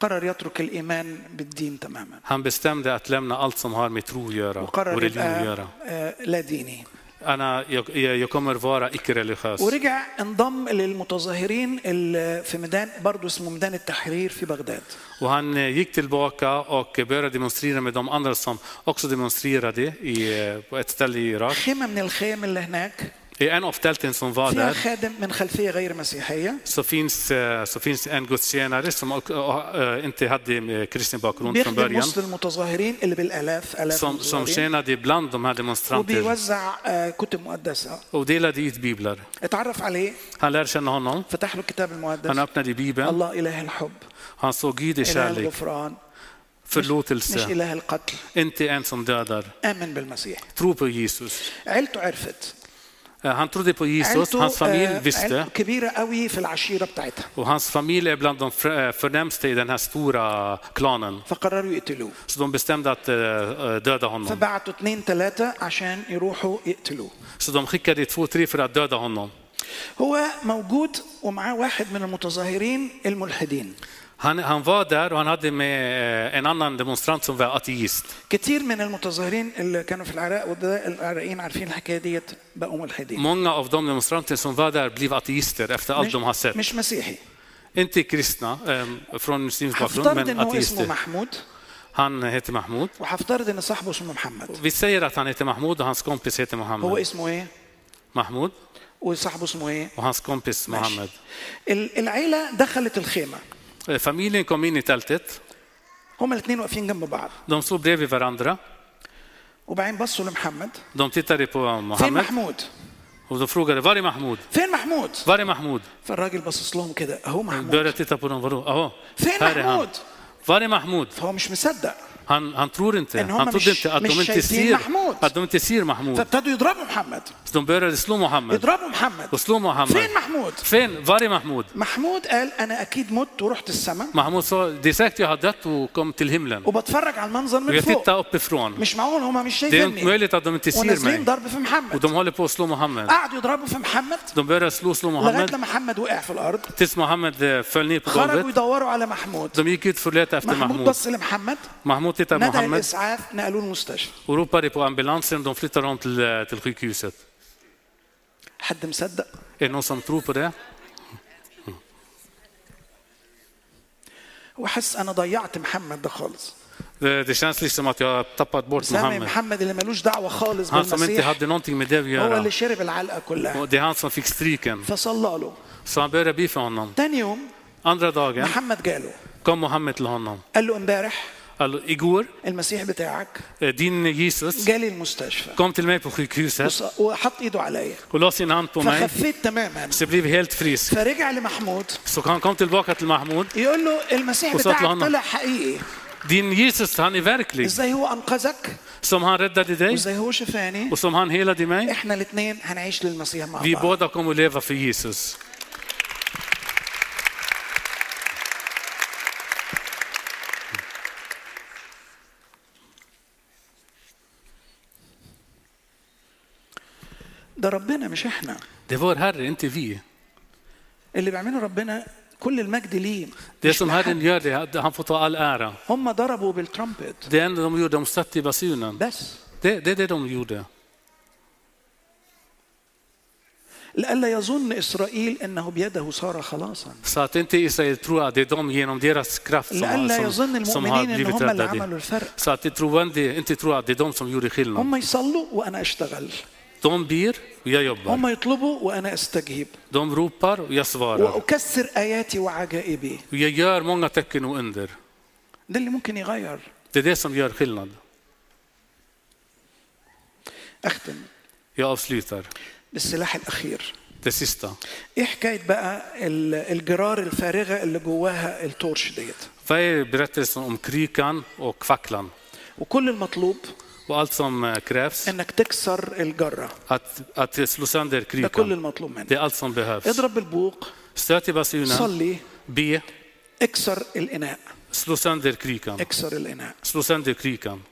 B: قرر يترك الايمان بالدين تماما
C: han bestämde att lämna allt som har med tro att göra och
B: وقرر
C: religion att
B: يبقى
C: göra.
B: آه، لا ديني
C: Anna, jag, jag jag kommer vara icke-religiös.
B: ورجع انضم للمتظاهرين اللي في ميدان برضه اسمه ميدان التحرير في بغداد
C: Och han eh, gick tillbaka och började demonstrera med de andra som också demonstrerade i, eh, på ett ställe i Irak.
B: خيمه من الخيام اللي هناك
C: I en av tälten som var
B: فيها
C: där
B: خادم من خلفيه غير مسيحيه
C: så finns, eh, så finns en gudstjänare som och- och, eh, inte hade eh, kristen bakgrund
B: بيخدم
C: från början,
B: وسط المتظاهرين اللي بالالاف الاف
C: som, som
B: المتظاهرين،
C: tjänade bland de här demonstranterna
B: وبيوزع آه، كتب مقدسه
C: och delade ut biblar.
B: اتعرف عليه
C: Han lärde känna honom,
B: فتح له الكتاب
C: han
B: المقدس
C: öppnade bibeln,
B: الله اله الحب
C: han såg Gud i
B: اله
C: kärlek,
B: الغفران مش
C: förlåtelse,
B: اله القتل
C: inte en som dödar.
B: امن بالمسيح
C: Tro på Jesus.
B: عيلته عرفت
C: Eh, Han trodde på Jesus,
B: عيلته
C: hans familj
B: آه،
C: visste.
B: عيلته كبيرة قوي في العشيرة بتاعتها
C: Och hans familj är bland de fr- eh, förnämsta i den här stora klanen.
B: فقرروا يقتلوه
C: Så de bestämde att eh, eh, döda honom.
B: فبعتوا اتنين تلاتة عشان يروحوا يقتلوه
C: Så de skickade två, tre för att döda honom.
B: هو موجود ومعاه واحد من المتظاهرين الملحدين
C: Han, han var där och han hade med eh, en annan demonstrant som var ateist.
B: كتير من المتظاهرين اللي كانوا في العراق وده العراقيين عارفين الحكاية ديت بقوا ملحدين
C: Många av de demonstranter som var där blev ateister efter allt
B: مش,
C: de har sett.
B: مش مسيحي
C: Inte kristna eh, från muslimsk bakgrund,
B: هفترض ان
C: men
B: هو اسمه
C: ateister.
B: محمود
C: Han heter Mahmoud.
B: وهفترض ان صاحبه اسمه محمد
C: Vi säger att han heter Mahmoud och hans kompis heter
B: هو
C: Mohammed.
B: اسمه ايه
C: Mahmoud
B: وصاحبه اسمه ايه
C: och hans
B: ماشي.
C: kompis Mohammed.
B: ال- العيله دخلت الخيمه
C: Eh, Familjen kom in i tältet.
B: هما الاثنين واقفين جنب بعض
C: De stod bredvid varandra.
B: وبعدين بصوا لمحمد
C: De tittade på
B: فين
C: Mohammed
B: محمود
C: och de frågade var är Mahmoud?
B: فين محمود
C: Var är Mahmoud?
B: فالراجل باصص لهم كده اهو محمود
C: Började titta på dem. Vadå? Jaha,
B: فين
C: här är han.
B: محمود
C: Var är Mahmoud?
B: فهو مش مصدق
C: Han, han tror inte.
B: En honom
C: Han trodde
B: mش-
C: inte att de
B: mش
C: inte
B: شايفين
C: ser,
B: Mahmoud.
C: att de inte ser Mahmoud.
B: فابتدوا يضربوا محمد
C: Så de började slå Mohammed
B: يضربوا محمد
C: och slå Mohammed.
B: فين محمود
C: Finn, var är Mahmoud?
B: محمود قال انا اكيد مت ورحت السماء
C: Mahmoud sa, det är säkert jag har dött och kom till himlen.
B: وبتفرج على المنظر
C: Och
B: من
C: jag
B: فوق
C: tittar uppifrån.
B: مش معقول هما مش
C: Det är inte
B: شايفيني
C: möjligt att de inte ser
B: ونازلين
C: mig.
B: ضرب في
C: Och
B: محمد
C: de håller på att slå Mohammed.
B: قعدوا يضربوا في محمد
C: De började slå, slå
B: لغايه
C: Mohammed
B: لما محمد وقع في الارض
C: tills Mohammed eh, föll ner på
B: خرجوا
C: golvet.
B: يدوروا على محمود
C: De gick ut för att leta efter
B: محمود
C: Mahmoud.
B: بص لمحمد
C: Mahmoud tittade på
B: نادى
C: Mohammed
B: الاسعاف نقلوه المستشفى
C: och ropade på ambulansen. De flyttade honom till, eh, till sjukhuset.
B: حد مصدق
C: Är det någon som tror på det?
B: وحس انا ضيعت محمد ده خالص
C: Det, det känns liksom att jag har tappat bort
B: سامي
C: Mohammed.
B: محمد اللي ملوش دعوه خالص
C: Han som inte
B: بالمسيح
C: hade någonting med det att
B: هو
C: göra.
B: اللي شرب العلقه كلها
C: Och det är han som fick stryken.
B: فصلى له
C: Så han började be för honom.
B: تاني يوم
C: Andra dagen
B: محمد جاله
C: kom Mohammed till honom.
B: قال له امبارح
C: Alltså, igår,
B: المسيح بتاعك
C: eh, din Jesus
B: جالي المستشفى
C: kom till mig på sjukhuset
B: وص- وحط ايده عليا
C: och la sin hand på mig.
B: فخفيت تماما
C: Så jag blev helt frisk.
B: فرجع لمحمود
C: Så han kom tillbaka till Mahmoud.
B: يقول له المسيح
C: وصلت
B: بتاعك
C: لهنا.
B: طلع حقيقي
C: Din Jesus, han är verklig.
B: ازاي هو انقذك
C: Som han räddade dig
B: وازاي هو شفاني
C: och som han helade mig.
B: احنا الاثنين هنعيش للمسيح مع
C: Vi
B: بعض
C: båda kommer att leva för Jesus.
B: ده ربنا مش احنا
C: Det var Herre, inte vi.
B: اللي بيعمله ربنا كل المجد ليه
C: Det som Herren gör, det, han får ta all ära.
B: هم ضربوا بالترامبت
C: Det enda de gjorde, de satte i basunen.
B: بس
C: Det, det är det de gjorde.
B: لئلا يظن اسرائيل انه بيده صار خلاصا
C: Så att inte Israel tror att det är de genom deras kraft som,
B: لئلا
C: har,
B: يظن
C: som, som har
B: المؤمنين ان
C: blivit
B: هم اللي عملوا
C: räddade.
B: الفرق
C: Så att de troende inte tror att det är de som gjorde skillnad.
B: هم يصلوا وانا اشتغل
C: De ber och jag jobbar.
B: هم يطلبوا وانا استجيب
C: De ropar och jag svarar.
B: واكسر اياتي وعجائبي
C: Och jag gör många tecken och under.
B: ده اللي ممكن يغير
C: Det är det som gör skillnad.
B: اختم
C: Jag avslutar.
B: بالسلاح الاخير
C: Det sista.
B: ايه حكايه بقى ال- الجرار الفارغه اللي جواها التورش ديت
C: Vad är berättelsen om krykan och facklan?
B: وكل المطلوب
C: Och allt som eh, krävs,
B: انك تكسر الجره
C: att, att slå sönder
B: ده كل
C: krykan.
B: المطلوب
C: Det är
B: منك
C: allt som behövs.
B: اضرب بالبوق
C: Stöt i basunen,
B: صلي
C: be,
B: اكسر الاناء
C: slå sönder krykan.
B: اكسر الاناء
C: Slå sönder krykan.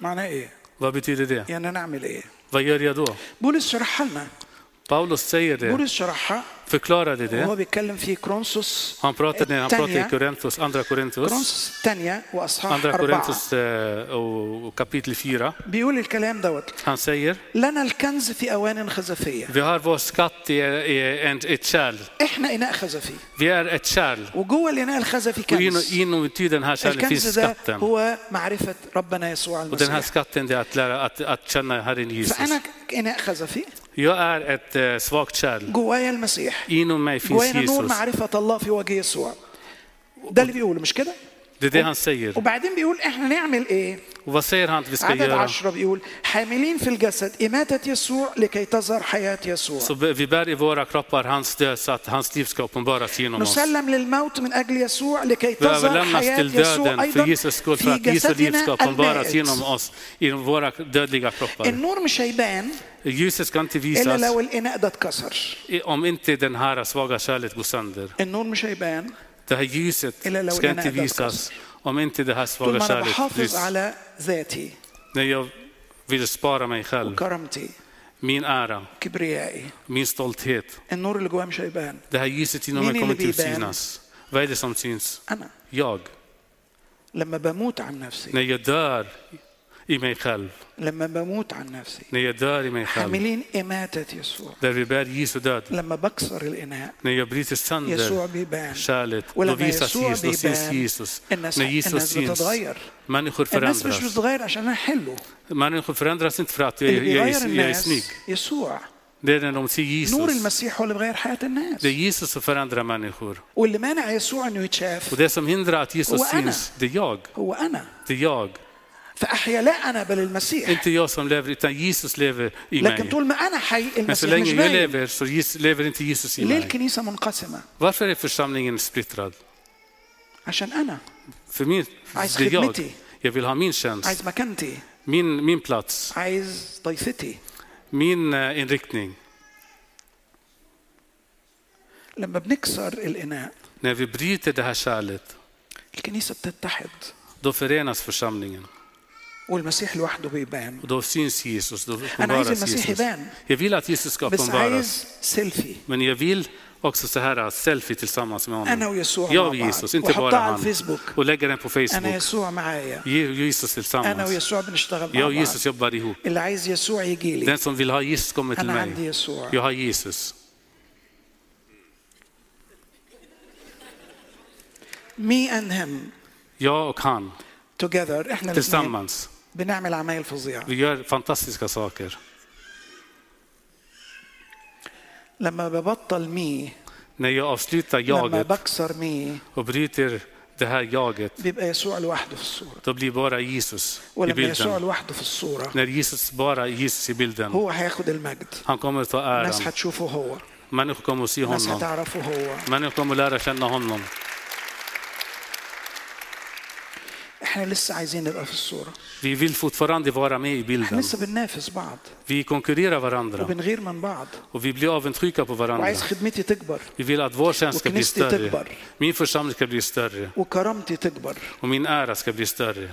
B: معناه ايه
C: Vad betyder det?
B: يعني نعمل ايه
C: Vad gör jag då?
B: بولس شرحها لنا
C: Paulus säger det,
B: بولس شرحها
C: förklarade det.
B: وهو بيتكلم في كرونسوس
C: Han pratade, när han pratade i
B: الثانية
C: Korinthos, andra Korinthos,
B: كرونسوس الثانية وأصحاح
C: andra
B: أربعة
C: Korinthos eh, och och kapitel 4.
B: بيقول الكلام دوت
C: Han säger,
B: لنا الكنز في أوان خزفية
C: vi har vår skatt i, i en, ett kärl.
B: إحنا إناء خزفي
C: Vi är ett kärl.
B: وجوه الإناء الخزفي
C: Och inom,
B: كنز
C: inuti den här kärlen finns
B: الكنز ده
C: skatten.
B: هو معرفة ربنا يسوع
C: Och den här
B: المسيح
C: skatten det är att lära att, att känna Herren Jesus.
B: فأنا ك- إناء خزفي
C: Jag är ett eh, svagt kärl.
B: جوايا المسيح
C: Inom mig finns
B: جوايا نور
C: Jesus.
B: معرفة الله في وجه يسوع ده اللي بيقوله مش كده
C: Det är det han säger.
B: وبعدين بيقول إحنا نعمل إيه
C: Och vad säger han att vi ska
B: عدد
C: göra?
B: عشرة بيقول حاملين في الجسد إماتة يسوع لكي تظهر حياة يسوع
C: Så vi bär i våra kroppar hans död så att hans liv ska uppenbaras genom oss.
B: نسلم للموت من أجل يسوع لكي
C: Vi
B: تظهر
C: överlämnas
B: حياة
C: till
B: يسوع
C: döden för
B: أيضا
C: Jesus skull, för
B: في
C: att Jesu liv
B: جسدنا
C: ska uppenbaras
B: المائت
C: genom oss, genom våra dödliga kroppar.
B: النور مش هيبان
C: Ljuset ska inte
B: إلا
C: visas
B: لو الإناء ده اتكسر
C: i- om inte den här svaga kärlet går sönder.
B: النور مش هيبان
C: Det här ljuset
B: Eller låg
C: ska
B: den
C: inte
B: här
C: visas om inte det
B: طول
C: här svaga
B: ما أنا
C: kärlet
B: بحافظ
C: bryts.
B: على ذاتي
C: När jag vill spara mig själv,
B: وكرامتي
C: min ära,
B: كبريائي
C: min stolthet.
B: النور اللي جوايا مش هيبان
C: Det här ljuset inom
B: Min
C: mig kommer inte att
B: innebär-
C: synas. Vad är det som syns?
B: أنا
C: Jag.
B: لما بموت عن نفسي
C: När jag dör i mig själv.
B: لما بموت عن نفسي
C: När jag dör i mig själv.
B: حاملين إماتة يسوع
C: Där vi bär Jesu död.
B: لما بكسر الإناء
C: När jag bryter
B: يسوع
C: sönder
B: بيبان
C: kärlet, då
B: ولما
C: visas
B: يسوع
C: Jesus, då syns
B: بيبان
C: Jesus.
B: الناس
C: När Jesus
B: الناس
C: syns,
B: بتتغير
C: människor
B: الناس مش
C: förändras.
B: بتتغير عشان انا حلو
C: Människor förändras inte för att jag,
B: اللي
C: jag,
B: بيغير
C: jag, är- jag är
B: الناس
C: snygg.
B: يسوع
C: Det är när de ser
B: نور
C: Jesus.
B: المسيح هو اللي بيغير حياه الناس
C: Det är Jesus som förändrar människor.
B: واللي مانع يسوع انه
C: Och
B: يتشاف
C: det som hindrar att Jesus
B: Och Anna.
C: syns, det är jag.
B: هو انا
C: Det är jag.
B: فاحيا لا انا بل المسيح
C: Inte jag som lever, utan Jesus lever i
B: لكن
C: mig.
B: طول ما انا حي
C: Men så
B: المسيح
C: länge
B: مش
C: jag
B: باين
C: lever så Jesus, lever inte Jesus i
B: ليه
C: mig.
B: الكنيسه منقسمه
C: Varför är församlingen splittrad?
B: عشان انا
C: För min,
B: Alltså,
C: det är jag.
B: skidmiti.
C: Jag vill ha min tjänst,
B: عايز مكانتي
C: min, min plats,
B: عايز ضيفتي
C: min eh, inriktning.
B: لما بنكسر الاناء
C: När vi bryter det här kärlet,
B: الكنيسه بتتحد
C: då förenas församlingen.
B: والمسيح لوحده بيبان
C: Och då syns Jesus, då
B: عايز
C: uppenbaras
B: المسيح
C: Jesus.
B: يبان.
C: Jag vill att Jesus ska
B: بس عايز
C: uppenbaras.
B: سيلفي
C: Men jag vill också så här, selfie tillsammans med
B: أنا
C: honom.
B: ويسوع
C: Jag
B: مع
C: och
B: بعض.
C: Jesus, inte bara
B: وأحطها على
C: han.
B: الفيسبوك.
C: Och lägga den på
B: انا
C: Facebook.
B: يسوع معايا
C: Ge Jesus
B: انا
C: tillsammans.
B: ويسوع بنشتغل
C: Jag
B: مع
C: och
B: بعض
C: Jesus jobbar ihop.
B: اللي عايز يسوع يجي لي
C: Den som vill ha Jesus kommer till
B: انا عندي
C: mig.
B: يسوع
C: Jag har Jesus.
B: مي اند هيم
C: Jag och han
B: توجذر احنا الاثنين
C: tillsammans.
B: بنعمل عمايل فظيعه
C: Vi gör fantastiska saker.
B: لما ببطل مي
C: När jag avslutar
B: لما
C: jaget
B: بكسر مي
C: och bryter det här jaget,
B: بيبقى يسوع لوحده في الصوره
C: då blir bara Jesus i
B: ولما يسوع
C: bilden.
B: لوحده في الصوره
C: När Jesus bara är Jesus i bilden,
B: هو هياخد المجد
C: han kommer ta
B: الناس
C: äran.
B: هتشوفه هو
C: Människor kommer att se
B: الناس
C: honom.
B: هتعرفه هو
C: Människor kommer att lära känna honom.
B: احنا لسه عايزين نبقى في الصوره
C: Vi vill fortfarande vara med i
B: احنا
C: bilden.
B: لسه بننافس بعض
C: Vi konkurrerar varandra
B: وبنغير من بعض
C: och vi blir avundsjuka på varandra.
B: وعايز خدمتي تكبر
C: Vi vill att vår tjänst ska bli
B: وكنيستي
C: större.
B: تكبر.
C: Min församling ska bli större
B: وكرامتي تكبر
C: och min ära ska bli större.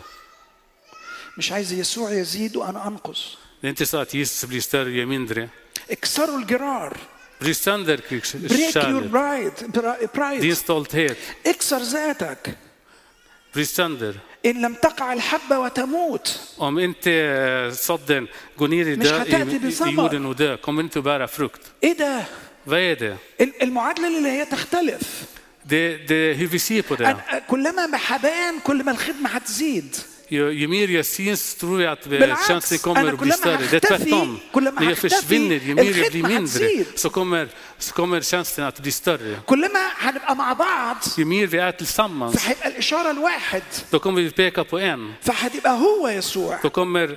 B: مش عايز يسوع يزيد وانا انقص
C: Det är inte så att Jesus blir större och jag är mindre.
B: اكسروا الجرار
C: Bryt sönder
B: بريك يور
C: krigskärlet,
B: برايد
C: din
B: برايد
C: stolthet.
B: اكسر ذاتك
C: Bryt sönder.
B: ان لم تقع الحبه وتموت
C: Om inte eh, sådden går ner i,
B: مش
C: dö,
B: هتأتي
C: i, i
B: بثمر.
C: jorden och dö kommer inte att bära frukt.
B: ايه ده
C: Vad är det?
B: ال- المعادله اللي هي تختلف
C: Det, det hur vi ser på det.
B: أنا- كلما ما حبان كل ما الخدمه هتزيد
C: Ju, ju mer jag syns tror jag att eh,
B: بالعكس,
C: tjänsten kommer
B: أنا
C: att bli
B: كلما
C: större. Det är
B: هختفي-
C: tvärtom.
B: كلما
C: När jag
B: هختفي
C: försvinner, ju mer jag
B: الخدمة
C: blir mindre
B: هتزيد.
C: så kommer, så kommer tjänsten att bli större.
B: كلما هنبقى مع بعض
C: Ju mer vi är tillsammans,
B: فهيبقى الاشاره الواحد
C: då kommer vi peka på en.
B: فهتبقى هو يسوع
C: Då kommer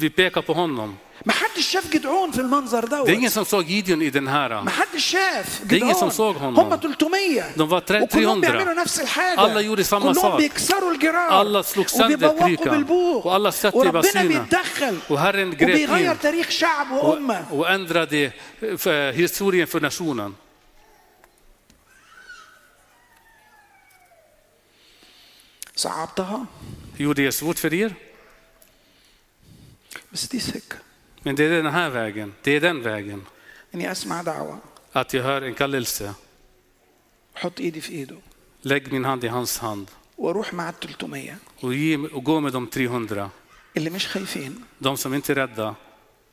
C: vi peka på honom.
B: ما حدش شاف جدعون في المنظر
C: Det är ingen
B: دوت
C: som såg Gideon i den
B: ما
C: här.
B: حدش شاف
C: Det är ingen som
B: جدعون
C: såg honom.
B: هم 300
C: De var tre-
B: وكلهم
C: 300.
B: بيعملوا نفس الحاجه
C: Alla gjorde samma
B: كلهم
C: sak.
B: بيكسروا الجرار
C: Alla slog sönder
B: وبيبوقوا
C: krykan.
B: بالبوق
C: Och alla satte i
B: وربنا
C: bassinen.
B: بيتدخل
C: Och Herren grep
B: وبيغير
C: in
B: تاريخ شعب وامه
C: och, och ändrade eh, för- historien för nationen.
B: صعبتها
C: Gjorde det svårt för er?
B: بس دي سكه
C: Men det är den här vägen. Det är den vägen.
B: اني اسمع دعوه
C: Att jag hör en kallelse.
B: احط ايدي في ايده
C: Lägg min hand i hans hand
B: واروح مع ال 300
C: och, ge, och gå med de 300.
B: اللي مش خايفين
C: De som inte är rädda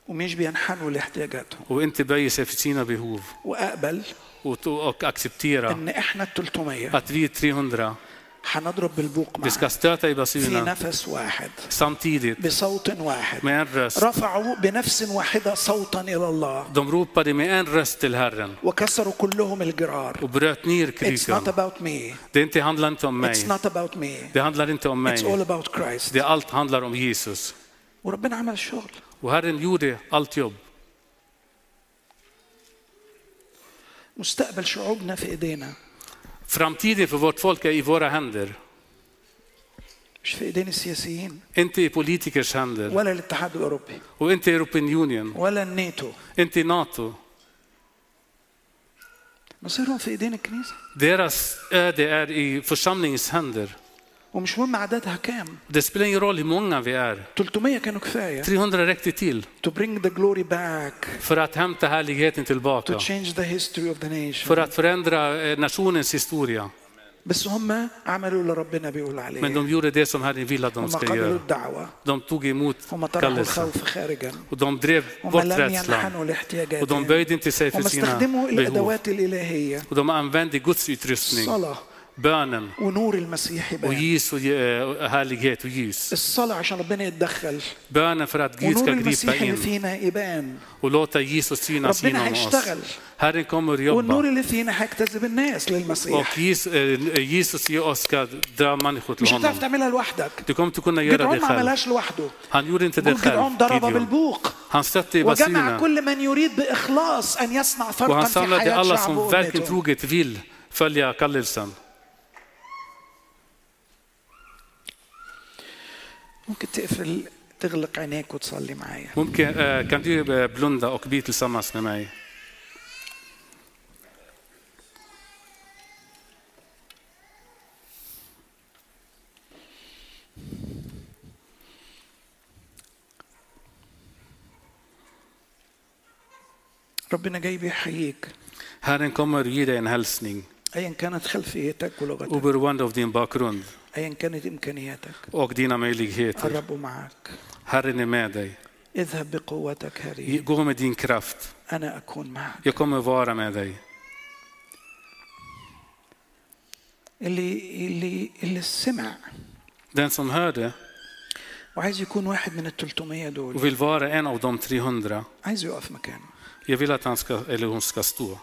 B: ومش بينحنوا لاحتياجاتهم
C: och inte böjer sig för sina behov
B: واقبل
C: och, och acceptera
B: ان احنا ال 300
C: att vi är 300
B: هنضرب بالبوق معا
C: Vi ska stöta
B: في
C: i basunen
B: نفس واحد
C: samtidigt
B: بصوت واحد
C: med en röst.
B: رفعوا بنفس واحدة صوتا إلى الله
C: De ropade med en röst till Herren
B: وكسروا كلهم الجرار
C: och bröt ner
B: It's not
C: krykan.
B: about me
C: Det inte handlar inte om
B: It's
C: mig.
B: not about me
C: Det handlar inte om
B: It's all
C: mig.
B: about Christ
C: Det allt handlar om Jesus.
B: وربنا عمل الشغل
C: Och Herren gjorde allt jobb.
B: مستقبل شعوبنا في إيدينا
C: Framtiden för vårt folk är i våra händer.
B: مش في إيدين السياسيين
C: Inte i politikers händer.
B: ولا الاتحاد الأوروبي
C: Och inte i European Union.
B: ولا الناتو
C: Inte i NATO.
B: مصيرهم في إيدين الكنيسة
C: Deras öde är i församlingens händer.
B: ومش مهم عددها كام
C: Det spelar ingen roll hur många vi är.
B: 300 كانوا كفاية
C: 300 räckte till
B: to bring the glory back
C: för att hämta härligheten
B: to
C: tillbaka.
B: change the history of the nation
C: För att förändra eh, nationens historia.
B: بس هم عملوا اللي ربنا بيقول عليه
C: Men de gjorde det som Herren ville att de
B: هم
C: ska
B: قبلوا
C: göra.
B: الدعوة
C: De tog emot
B: هم طرحوا
C: kallelsen.
B: الخوف خارجا
C: Och de drev
B: هم
C: bort
B: لم
C: rädslan.
B: ينحنوا
C: Och de
B: لاحتياجاتهم
C: böjde inte sig för
B: هم
C: sina
B: استخدموا
C: behov.
B: الأدوات الإلهية
C: Och de använde Guds utrustning,
B: الصلاة
C: bönen
B: ونور المسيح
C: och
B: بان
C: ljus och eh, härlighet och ljus.
B: الصلاة عشان ربنا يتدخل
C: Bönen för att Gud
B: ونور
C: ska gripa
B: المسيح اللي
C: in
B: فينا يبان
C: och låta Jesus synas
B: ربنا
C: genom oss.
B: هيشتغل.
C: Herren kommer att
B: والنور
C: jobba
B: اللي فينا هيجتذب الناس للمسيح
C: och Jesus, eh, Jesus i oss ska dra människor till
B: مش هتعرف
C: honom.
B: تعملها لوحدك
C: Du kommer inte kunna göra
B: جدعون
C: det
B: ما
C: själv.
B: عملهاش لوحده
C: Han gjorde inte det
B: بيقول
C: själv,
B: جدعون ضرب
C: Gideon.
B: بالبوق
C: Han stötte i
B: وجمع
C: basunen
B: كل من يريد بإخلاص أن يصنع
C: och
B: فرقا
C: han
B: في
C: samlade alla
B: حياة شعبه
C: som verkligen
B: وأمته
C: troget vill följa kallelsen.
B: ممكن تقفل تغلق عينيك وتصلي معايا
C: Mumke, eh, kan du eh, blunda och be tillsammans med mig?
B: ربنا جاي بيحييك
C: Herren kommer att ge dig en hälsning
B: أيا كانت خلفيتك ولغتك
C: oberoende av din bakgrund
B: أيا كانت إمكانياتك
C: och dina möjligheter.
B: الرب معك
C: Herren är med dig.
B: اذهب بقوتك هاري
C: Gå med din kraft.
B: أنا أكون معك
C: Jag kommer vara med dig.
B: اللي اللي اللي سمع
C: Den som hörde
B: وعايز يكون واحد من ال 300 دول
C: och vill vara en av de 300,
B: عايز يقف مكانه
C: jag vill att han ska, eller hon ska stå.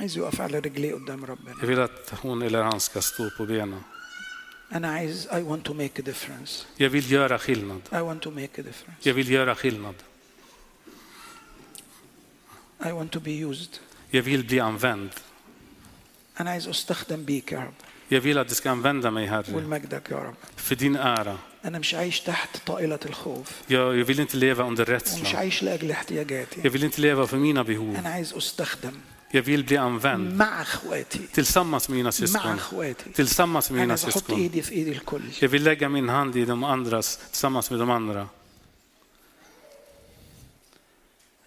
B: عايز يقف على رجليه قدام ربنا
C: Jag vill att hon eller han ska stå på benen.
B: أنا عايز I want to make a difference
C: Jag vill göra skillnad.
B: I want to make a difference
C: Jag vill göra skillnad.
B: I want to be used
C: Jag vill bli använd.
B: أنا عايز أستخدم بيك يا رب
C: Jag vill att du ska använda mig, Herre,
B: ولمجدك يا رب
C: för din ära.
B: أنا مش عايش تحت طائلة الخوف
C: Jag, jag vill inte leva under
B: ومش
C: rädslan.
B: عايش لأجل
C: Jag
B: احتياجاتي
C: vill inte leva för mina behov.
B: أنا عايز أستخدم
C: Jag vill bli använd
B: مع إخواتي
C: tillsammans med mina
B: مع
C: syskon.
B: إخواتي
C: Tillsammans med
B: أنا عايز
C: mina
B: أحط
C: syskon.
B: إيدي في إيد الكل
C: Jag vill lägga min hand i de andras tillsammans med de andra.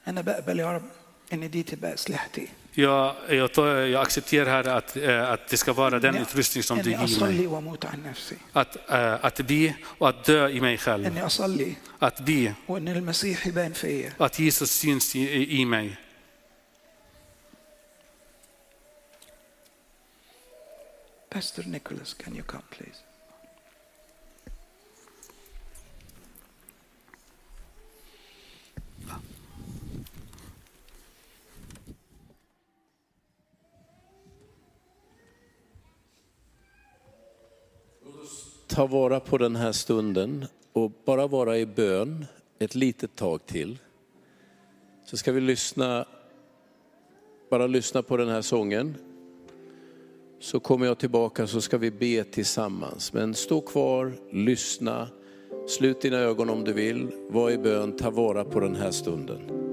B: أنا بقبل يا رب إن دي تبقى أسلحتي
C: Jag, jag, tar, jag accepterar här att, eh, att det ska vara den utrustning som du
B: إني
C: ger mig.
B: أصلي وأموت عن نفسي
C: Att, eh, att be och att dö i mig själv.
B: إني أصلي
C: Att be
B: وإن المسيح يبان فيا
C: och att Jesus syns i, i mig.
B: Pastor Nicholas, can you come please?
D: ta vara på den här stunden och bara vara i bön ett litet tag till. Så ska vi lyssna, bara lyssna på den här sången. Så kommer jag tillbaka så ska vi be tillsammans. Men stå kvar, lyssna, slut dina ögon om du vill, var i bön, ta vara på den här stunden.